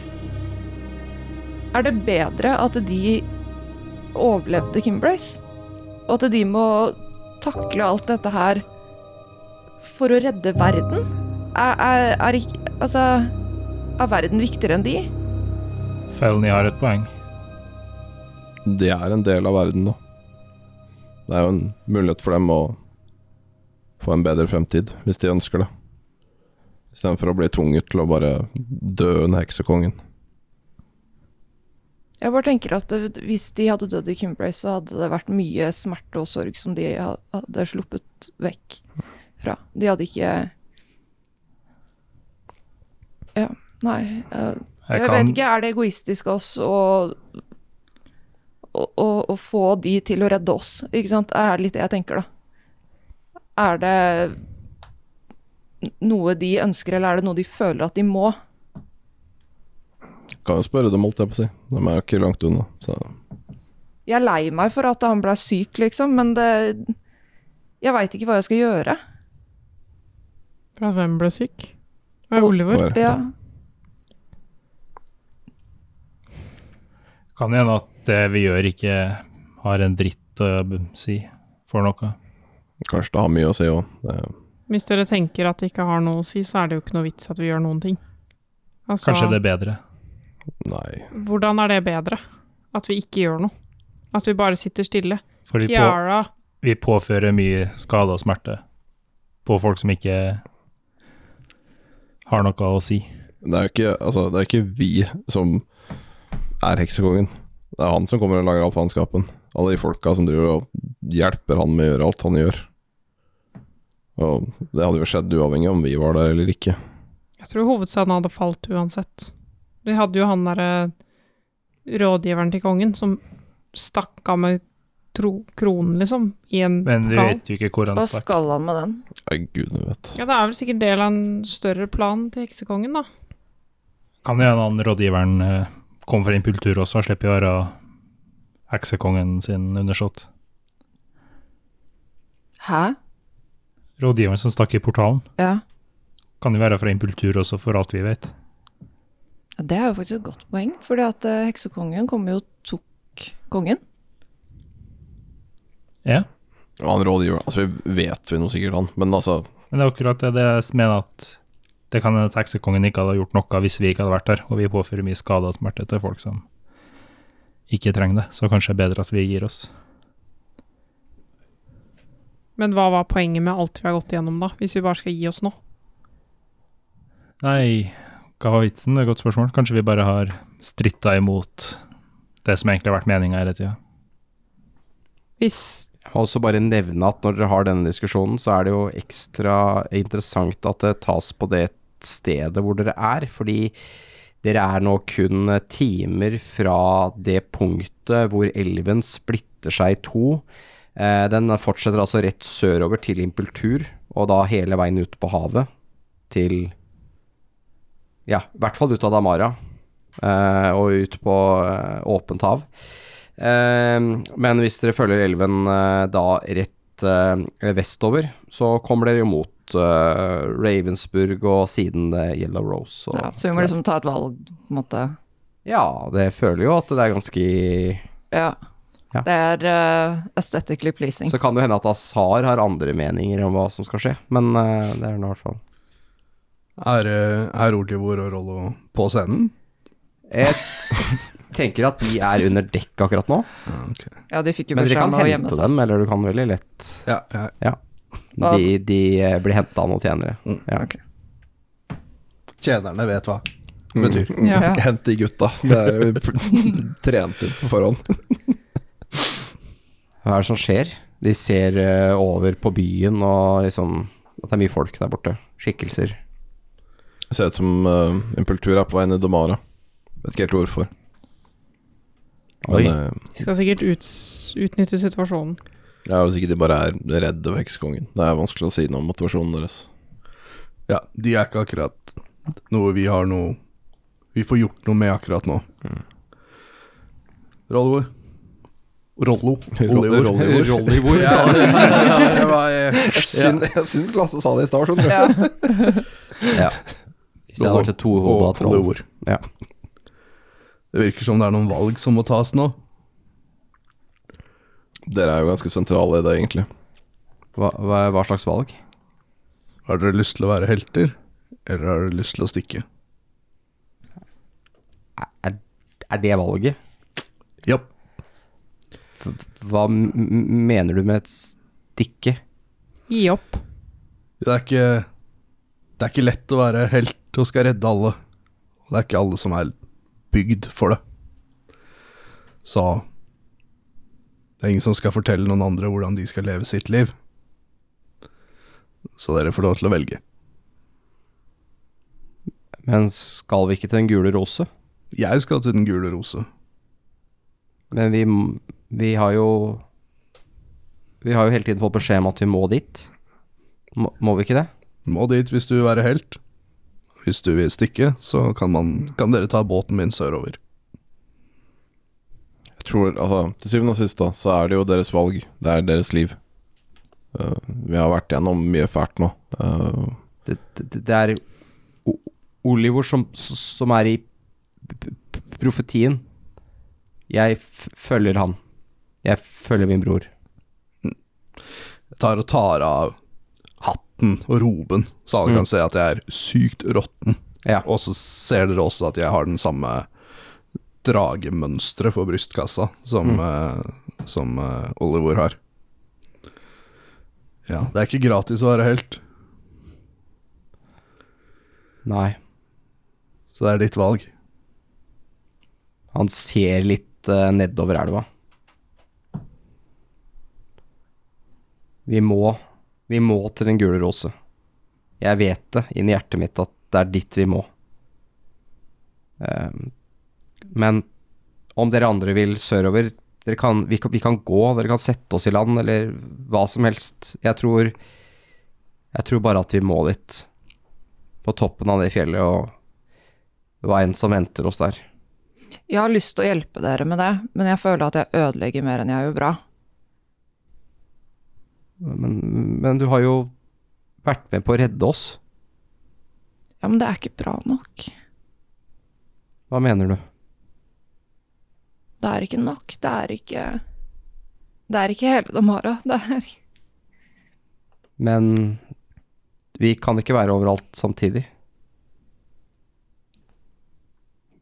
[SPEAKER 7] Er det bedre at de overlevde Kimbrace? Og at de må takle alt dette her for å redde verden? Er, er, er ikke Altså Er verden viktigere enn de?
[SPEAKER 5] Felny har et poeng.
[SPEAKER 4] De er en del av verden nå. Det er jo en mulighet for dem å få en bedre fremtid, hvis de ønsker det. Istedenfor å bli tvunget til å bare dø under heksekongen.
[SPEAKER 7] Jeg bare tenker at det- hvis de hadde dødd i Kimbrace, så hadde det vært mye smerte og sorg som de ha- hadde sluppet vekk fra. De hadde ikke Ja, nei. eh,
[SPEAKER 5] Jeg
[SPEAKER 7] Jeg, vet
[SPEAKER 5] kan,
[SPEAKER 7] ikke, er det egoistisk av oss å å, å, å få de til å redde oss, ikke sant? Det er litt det jeg tenker, da. Er det noe de ønsker, eller er det noe de føler at de må?
[SPEAKER 4] Kan jo spørre dem, holdt jeg på å si. De er jo ikke langt unna. Så
[SPEAKER 7] Jeg er lei meg for at han ble syk, liksom, men det Jeg veit ikke hva jeg skal gjøre.
[SPEAKER 8] Fra hvem ble syk? Det var Oliver.
[SPEAKER 4] bare
[SPEAKER 7] Ja.
[SPEAKER 5] kan hende at det vi gjør, ikke har en dritt å si for noe.
[SPEAKER 4] Kanskje det har mye å si òg. Det
[SPEAKER 8] Hvis dere tenker at det ikke har noe å si, så er det jo ikke noe vits at vi gjør noen ting. Altså,
[SPEAKER 5] Kanskje det er bedre.
[SPEAKER 4] Nei.
[SPEAKER 8] Hvordan er det bedre? At vi ikke gjør noe? At vi bare sitter stille?
[SPEAKER 5] For vi, på,
[SPEAKER 8] Kiara
[SPEAKER 5] vi påfører mye skade og smerte på folk som ikke har noe å si.
[SPEAKER 4] Det er jo ikke, altså, det er ikke vi som er heksekongen. Det er han som kommer og lager all faenskapen. Alle de folka som driver og hjelper han med å gjøre alt han gjør. Og det hadde jo skjedd uavhengig om vi var der eller ikke.
[SPEAKER 8] Jeg tror hovedstaden hadde falt uansett. Vi hadde jo han derre rådgiveren til kongen som stakk av med tro kronen, liksom, i en
[SPEAKER 5] Men vi
[SPEAKER 8] plan.
[SPEAKER 5] vet jo ikke hvor han
[SPEAKER 7] Hva
[SPEAKER 5] stakk.
[SPEAKER 7] skal han med den?
[SPEAKER 4] Nei, gudene vet.
[SPEAKER 8] Ja, det er vel sikkert del av en større plan til heksekongen, da.
[SPEAKER 5] Kan hende han rådgiveren eh, kom fra impultur også, og slipper å være heksekongen sin undersått.
[SPEAKER 7] Hæ?
[SPEAKER 5] Rådgiveren som stakk i portalen,
[SPEAKER 7] Ja.
[SPEAKER 5] kan jo være fra impultur også, for alt vi vet.
[SPEAKER 7] ja det er jo faktisk et godt poeng, fordi at eh, heksekongen kom jo og tok kongen.
[SPEAKER 5] Ja.
[SPEAKER 4] Og han rådgiver Altså, vi vet vi noe sikkert, han. Men altså
[SPEAKER 5] Men det er akkurat det det jeg mener at Det kan hende at heksekongen ikke hadde gjort noe hvis vi ikke hadde vært der, og vi påfører mye skade og smerte til folk som ikke trenger det, så kanskje det er bedre at vi gir oss.
[SPEAKER 8] Men hva var poenget med alt vi har gått igjennom, da? Hvis vi bare skal gi oss nå?
[SPEAKER 5] Nei, hva var vitsen? Det er et godt spørsmål. Kanskje vi bare har stritta imot det som egentlig har vært meninga hele tida.
[SPEAKER 8] Hvis
[SPEAKER 3] Jeg må også bare nevne at når dere har denne diskusjonen, så er det jo ekstra interessant at det tas på det stedet hvor dere er, fordi dere er nå kun eh, timer fra det punktet hvor elven splitter seg i to. Eh, Den fortsetter altså rett sørover til Impultur, og da hele veien ut på havet til Ja, i hvert fall ut av Damara, eh, og ut på eh, åpent hav. Eh, Men hvis dere følger elven eh, da rett eh, vestover, så kommer dere jo mot eh, Ravensburg og siden eh, Yellow Rose. Og,
[SPEAKER 7] Ja, så vi må liksom ta et valg, på en måte.
[SPEAKER 3] ja, det føler jo at det er ganske
[SPEAKER 7] Ja.
[SPEAKER 3] Ja.
[SPEAKER 7] Det er eh, aesthetically pleasing.
[SPEAKER 3] Så kan det hende at Azar har andre meninger om hva som skal skje, men eh, det er nå i hvert fall
[SPEAKER 6] Er, eh, er Olivor og Rollo på scenen?
[SPEAKER 3] Jeg tenker at de er under dekk akkurat nå,
[SPEAKER 6] Ja, ok.
[SPEAKER 7] Ja, de fikk jo
[SPEAKER 3] men dere
[SPEAKER 7] beskjed
[SPEAKER 3] kan
[SPEAKER 7] om å gjemme
[SPEAKER 3] hente
[SPEAKER 7] seg.
[SPEAKER 3] dem, eller du kan veldig lett
[SPEAKER 6] Ja, jeg,
[SPEAKER 3] De, de eh, blir henta av noen tjenere. Ja.
[SPEAKER 7] Ok.
[SPEAKER 6] tjenerne vet hva.
[SPEAKER 4] Betyr.
[SPEAKER 7] Ja.
[SPEAKER 4] Hent de gutta. Mm. Det er vi pl- trent inn på forhånd.
[SPEAKER 3] Hva er det som skjer? De ser eh, over på byen og liksom At det er mye folk der borte. Skikkelser.
[SPEAKER 4] Det ser ut som eh, Impultur er på vei ned Damara. Vet ikke helt hvorfor.
[SPEAKER 3] Oi.
[SPEAKER 4] Men eh,
[SPEAKER 8] Vi skal sikkert uts- utnytte situasjonen.
[SPEAKER 4] ja, hvis ikke de bare er redde for heksekongen. Det er vanskelig å si noe om motivasjonen deres.
[SPEAKER 6] Ja, de er ikke akkurat noe vi har noe Vi får gjort noe med akkurat nå.
[SPEAKER 4] Mm.
[SPEAKER 6] Rollo. Rollo. Olivor.
[SPEAKER 4] Rollivor.
[SPEAKER 6] Rollivor, ja. Det var, eh,
[SPEAKER 4] Jeg syn- jeg syns Lasse sa det i stad, skjønner du.
[SPEAKER 7] Ja.
[SPEAKER 3] Ja. Hvis det hadde vært et tohoda
[SPEAKER 6] og
[SPEAKER 3] troll.
[SPEAKER 6] Olivor.
[SPEAKER 3] Ja.
[SPEAKER 6] Det virker som det er noen valg som må tas nå.
[SPEAKER 4] Dere er jo ganske sentrale i det, egentlig.
[SPEAKER 3] Hva, hva, hva slags valg?
[SPEAKER 6] Har dere lyst til å være helter, eller har dere lyst til å stikke?
[SPEAKER 3] Er, er det valget?
[SPEAKER 6] Ja.
[SPEAKER 3] Hva m m- mener du med et stikke?
[SPEAKER 8] Gi opp.
[SPEAKER 6] Det er ikke Det er ikke lett å være helt og skal redde alle. Og det er ikke alle som er bygd for det. Så det er ingen som skal fortelle noen andre hvordan de skal leve sitt liv. Så dere får lov til å velge.
[SPEAKER 3] Men skal vi ikke til den gule rose?
[SPEAKER 6] Jeg skal til Den gule rose.
[SPEAKER 3] Men vi, m- vi har jo Vi har jo hele tiden fått beskjed om at vi må dit. Må, må vi ikke det?
[SPEAKER 6] Må dit hvis du vil være helt. Hvis du vil stikke, så kan, man, kan dere ta båten min sørover.
[SPEAKER 4] Jeg tror, altså, Til syvende og sist da, så er det jo deres valg. Det er deres liv. Eh, vi har vært gjennom mye fælt nå. Eh,
[SPEAKER 3] Det, det, det er O- Olivor som, som er i p- p- profetien. Jeg f følger han. Jeg følger min bror.
[SPEAKER 6] Jeg tar og tar av hatten og roben, så alle
[SPEAKER 3] Mm.
[SPEAKER 6] kan se at jeg er sykt råtten.
[SPEAKER 3] Ja.
[SPEAKER 6] Og så ser dere også at jeg har den samme dragemønsteret på brystkassa
[SPEAKER 3] Mm.
[SPEAKER 6] som, eh, som eh, Oliver har. Ja, det er ikke gratis å være helt,
[SPEAKER 3] Nei.
[SPEAKER 6] så det er ditt valg.
[SPEAKER 3] Han ser litt eh, nedover elva. Vi må Vi må til Den gule rose. Jeg vet det inni hjertet mitt at det er dit vi må. Eh, men om dere andre vil sørover dere kan, vi, kan, vi kan gå, dere kan sette oss i land, eller hva som helst. Jeg tror Jeg tror bare at vi må dit. På toppen av det fjellet, og det var en som venter oss der.
[SPEAKER 7] Jeg har lyst til å hjelpe dere med det, men jeg føler at jeg ødelegger mer enn jeg gjør bra.
[SPEAKER 3] Men, men du har jo vært med på å redde oss.
[SPEAKER 7] Ja, men det er ikke bra nok.
[SPEAKER 3] Hva mener du?
[SPEAKER 7] Det er ikke nok. Det er ikke Det er ikke hele Damara. Det er
[SPEAKER 3] Men vi kan ikke være overalt samtidig.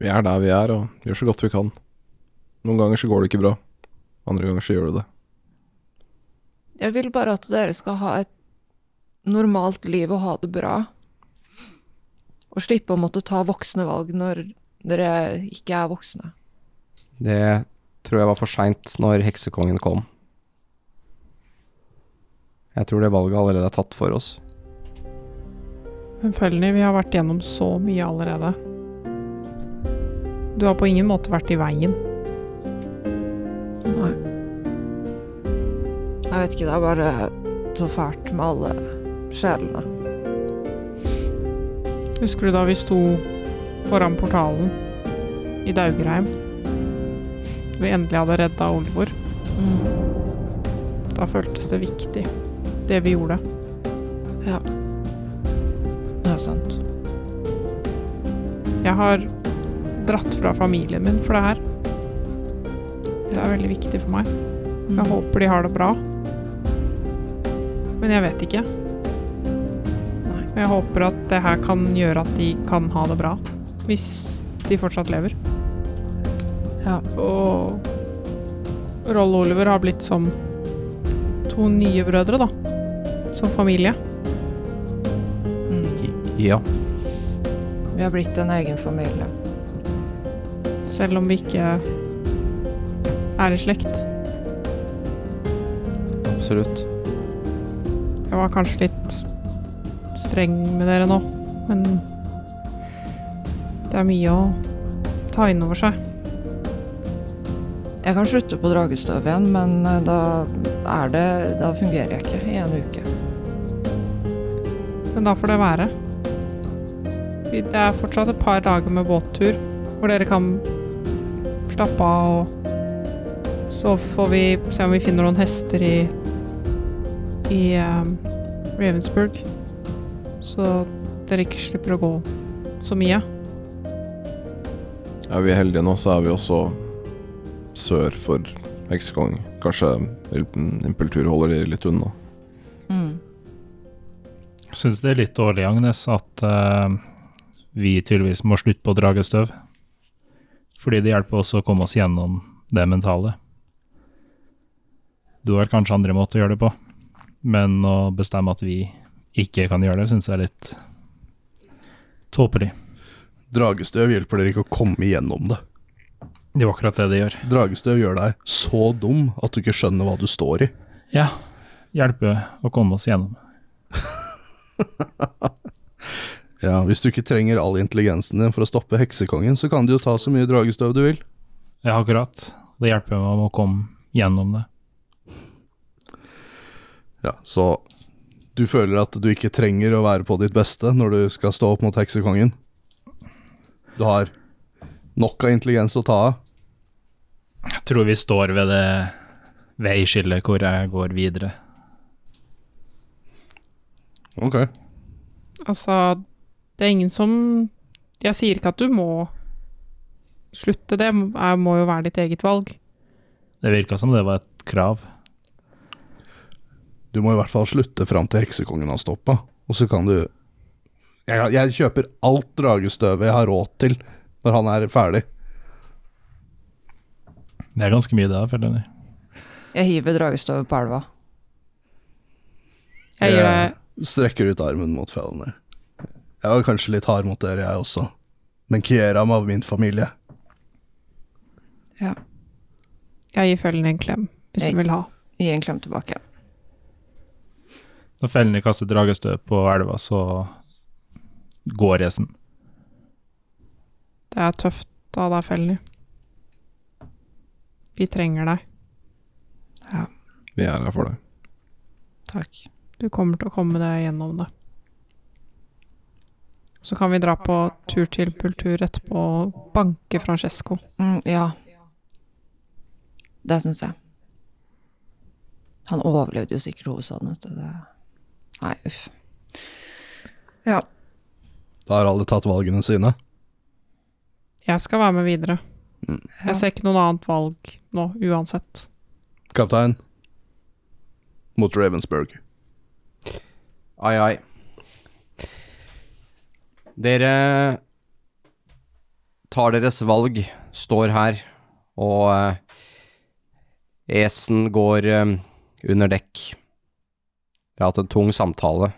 [SPEAKER 4] Vi er der vi er, og gjør så godt vi kan. Noen ganger så går det ikke bra. Andre ganger så gjør det det.
[SPEAKER 7] Jeg vil bare at dere skal ha et normalt liv og ha det bra. Og slippe å måtte ta voksne valg når dere ikke er voksne.
[SPEAKER 3] Det tror jeg var for seint når heksekongen kom. Jeg tror det valget allerede er tatt for oss.
[SPEAKER 8] Men Følny, vi har vært gjennom så mye allerede. Du har på ingen måte vært i veien.
[SPEAKER 7] Nei. Jeg vet ikke, det er bare så fælt med alle sjelene.
[SPEAKER 8] Husker du da vi sto foran portalen i Daugerheim? Vi endelig hadde redda Olvor.
[SPEAKER 7] Mm.
[SPEAKER 8] Da føltes det viktig, det vi gjorde.
[SPEAKER 7] Det er sant.
[SPEAKER 8] Jeg har dratt fra familien min for det her. Det er veldig viktig for meg.
[SPEAKER 7] Mm.
[SPEAKER 8] Jeg håper de har det bra. Men jeg vet ikke. Og Jeg håper at det her kan gjøre at de kan ha det bra. Hvis de fortsatt lever.
[SPEAKER 7] Ja.
[SPEAKER 8] Og Rolle Oliver har blitt som to nye brødre, da. Som familie.
[SPEAKER 7] Mm.
[SPEAKER 3] Ja.
[SPEAKER 7] Vi har blitt en egen familie.
[SPEAKER 8] Selv om vi ikke er i slekt.
[SPEAKER 3] Absolutt.
[SPEAKER 8] Jeg var kanskje litt streng med dere nå, men det er mye å ta inn over seg.
[SPEAKER 7] Jeg kan slutte på dragestøv igjen, men eh, da er det Da fungerer jeg ikke i en uke.
[SPEAKER 8] Men da får det være. Vi- Det er fortsatt et par dager med båttur hvor dere kan slappe av, og så får vi se om vi finner noen hester i, i ehm, Ravensburg. Så dere ikke slipper å gå så mye.
[SPEAKER 4] Er vi heldige nå, så er vi også sør for Heksekong. Kanskje Impeltur holder de litt unna.
[SPEAKER 7] Mm.
[SPEAKER 5] Jeg syns det er litt dårlig, Agnes, at eh, vi tydeligvis må slutte på å drage støv. Fordi det hjelper oss å komme oss gjennom det mentale. Du har kanskje andre måter å gjøre det på, men å bestemme at vi ikke kan gjøre det, syns jeg er litt tåpelig.
[SPEAKER 6] Dragestøv hjelper dere ikke å komme igjennom det.
[SPEAKER 5] Det var akkurat det det gjør.
[SPEAKER 6] Dragestøv gjør deg så dum at du ikke skjønner hva du står i.
[SPEAKER 5] Ja, hjelpe å komme oss gjennom.
[SPEAKER 6] Ja, Hvis du ikke trenger all intelligensen din for å stoppe heksekongen, så kan du jo ta så mye dragestøv du vil.
[SPEAKER 5] Ja, akkurat. Det hjelper meg å komme gjennom det.
[SPEAKER 6] Ja, Så du føler at du ikke trenger å være på ditt beste når du skal stå opp mot heksekongen? Du har nok av intelligens å ta av.
[SPEAKER 5] Jeg tror vi står ved det veiskillet hvor jeg går videre.
[SPEAKER 6] Ok.
[SPEAKER 8] Altså, det er ingen som Jeg sier ikke at du må slutte, det er- må jo være ditt eget valg.
[SPEAKER 5] Det virka som det var et krav.
[SPEAKER 6] Du må i hvert fall slutte fram til heksekongen har stoppa, og så kan du jeg, jeg kjøper alt dragestøvet jeg har råd til når han er ferdig.
[SPEAKER 5] Det er ganske mye, det. føler jeg.
[SPEAKER 7] Jeg hiver dragestøvet på elva.
[SPEAKER 8] Jeg gir deg
[SPEAKER 6] Strekker ut armen mot Felner. Jeg var kanskje litt hard mot dere, jeg også. Men Kieram av min familie.
[SPEAKER 8] Jeg gir følgen en klem, hvis
[SPEAKER 7] Nei.
[SPEAKER 8] hun vil ha.
[SPEAKER 7] Gi en klem tilbake.
[SPEAKER 5] Når fellene kaster dragestøv på elva, så går resen.
[SPEAKER 8] Det er tøft av deg, Felny. Vi trenger deg.
[SPEAKER 4] Vi er her for det.
[SPEAKER 7] Takk.
[SPEAKER 8] Du kommer til å komme deg gjennom det. Så kan vi dra på tur til Pultur etterpå og banke Francesco.
[SPEAKER 7] Mm, ja. Det syns jeg. Han overlevde jo sikkert hovedstaden, vet du. Det... Nei, uff. Ja.
[SPEAKER 6] Da har alle tatt valgene sine.
[SPEAKER 8] Jeg skal være med videre.
[SPEAKER 6] Mm.
[SPEAKER 7] Ja.
[SPEAKER 8] Jeg ser ikke noe annet valg nå, uansett.
[SPEAKER 6] Kaptein. Mot Ravensburg.
[SPEAKER 3] Ai, ai. Dere tar deres valg, står her, og eh, Esen går eh, under dekk. Dere har hatt en tung samtale,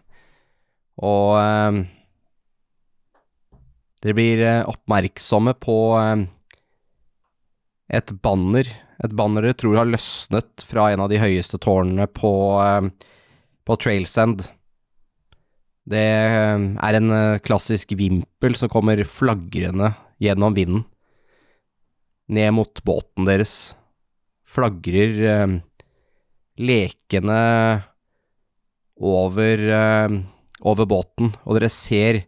[SPEAKER 3] og eh, dere blir eh, oppmerksomme på eh, et banner, et banner dere tror har løsnet fra en av de høyeste tårnene på, eh, på Trailsend. Det eh, er en eh, klassisk vimpel som kommer flagrende gjennom vinden. Ned mot båten deres. Flagrer eh, lekende over, eh, over båten, og dere ser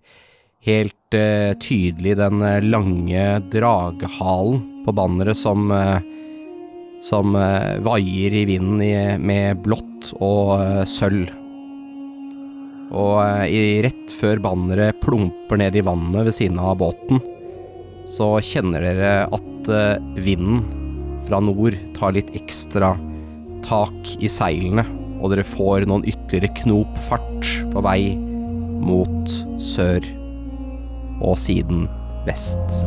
[SPEAKER 3] helt eh, tydelig den eh, lange dragehalen på banneret som eh, som eh, vaier i vinden i, med blått og eh, sølv. Og eh, i, rett før banneret plumper ned i vannet ved siden av båten, så kjenner dere at eh, vinden fra nord tar litt ekstra tak i seilene, og dere får noen ytterligere knop fart på vei mot sør og siden vest.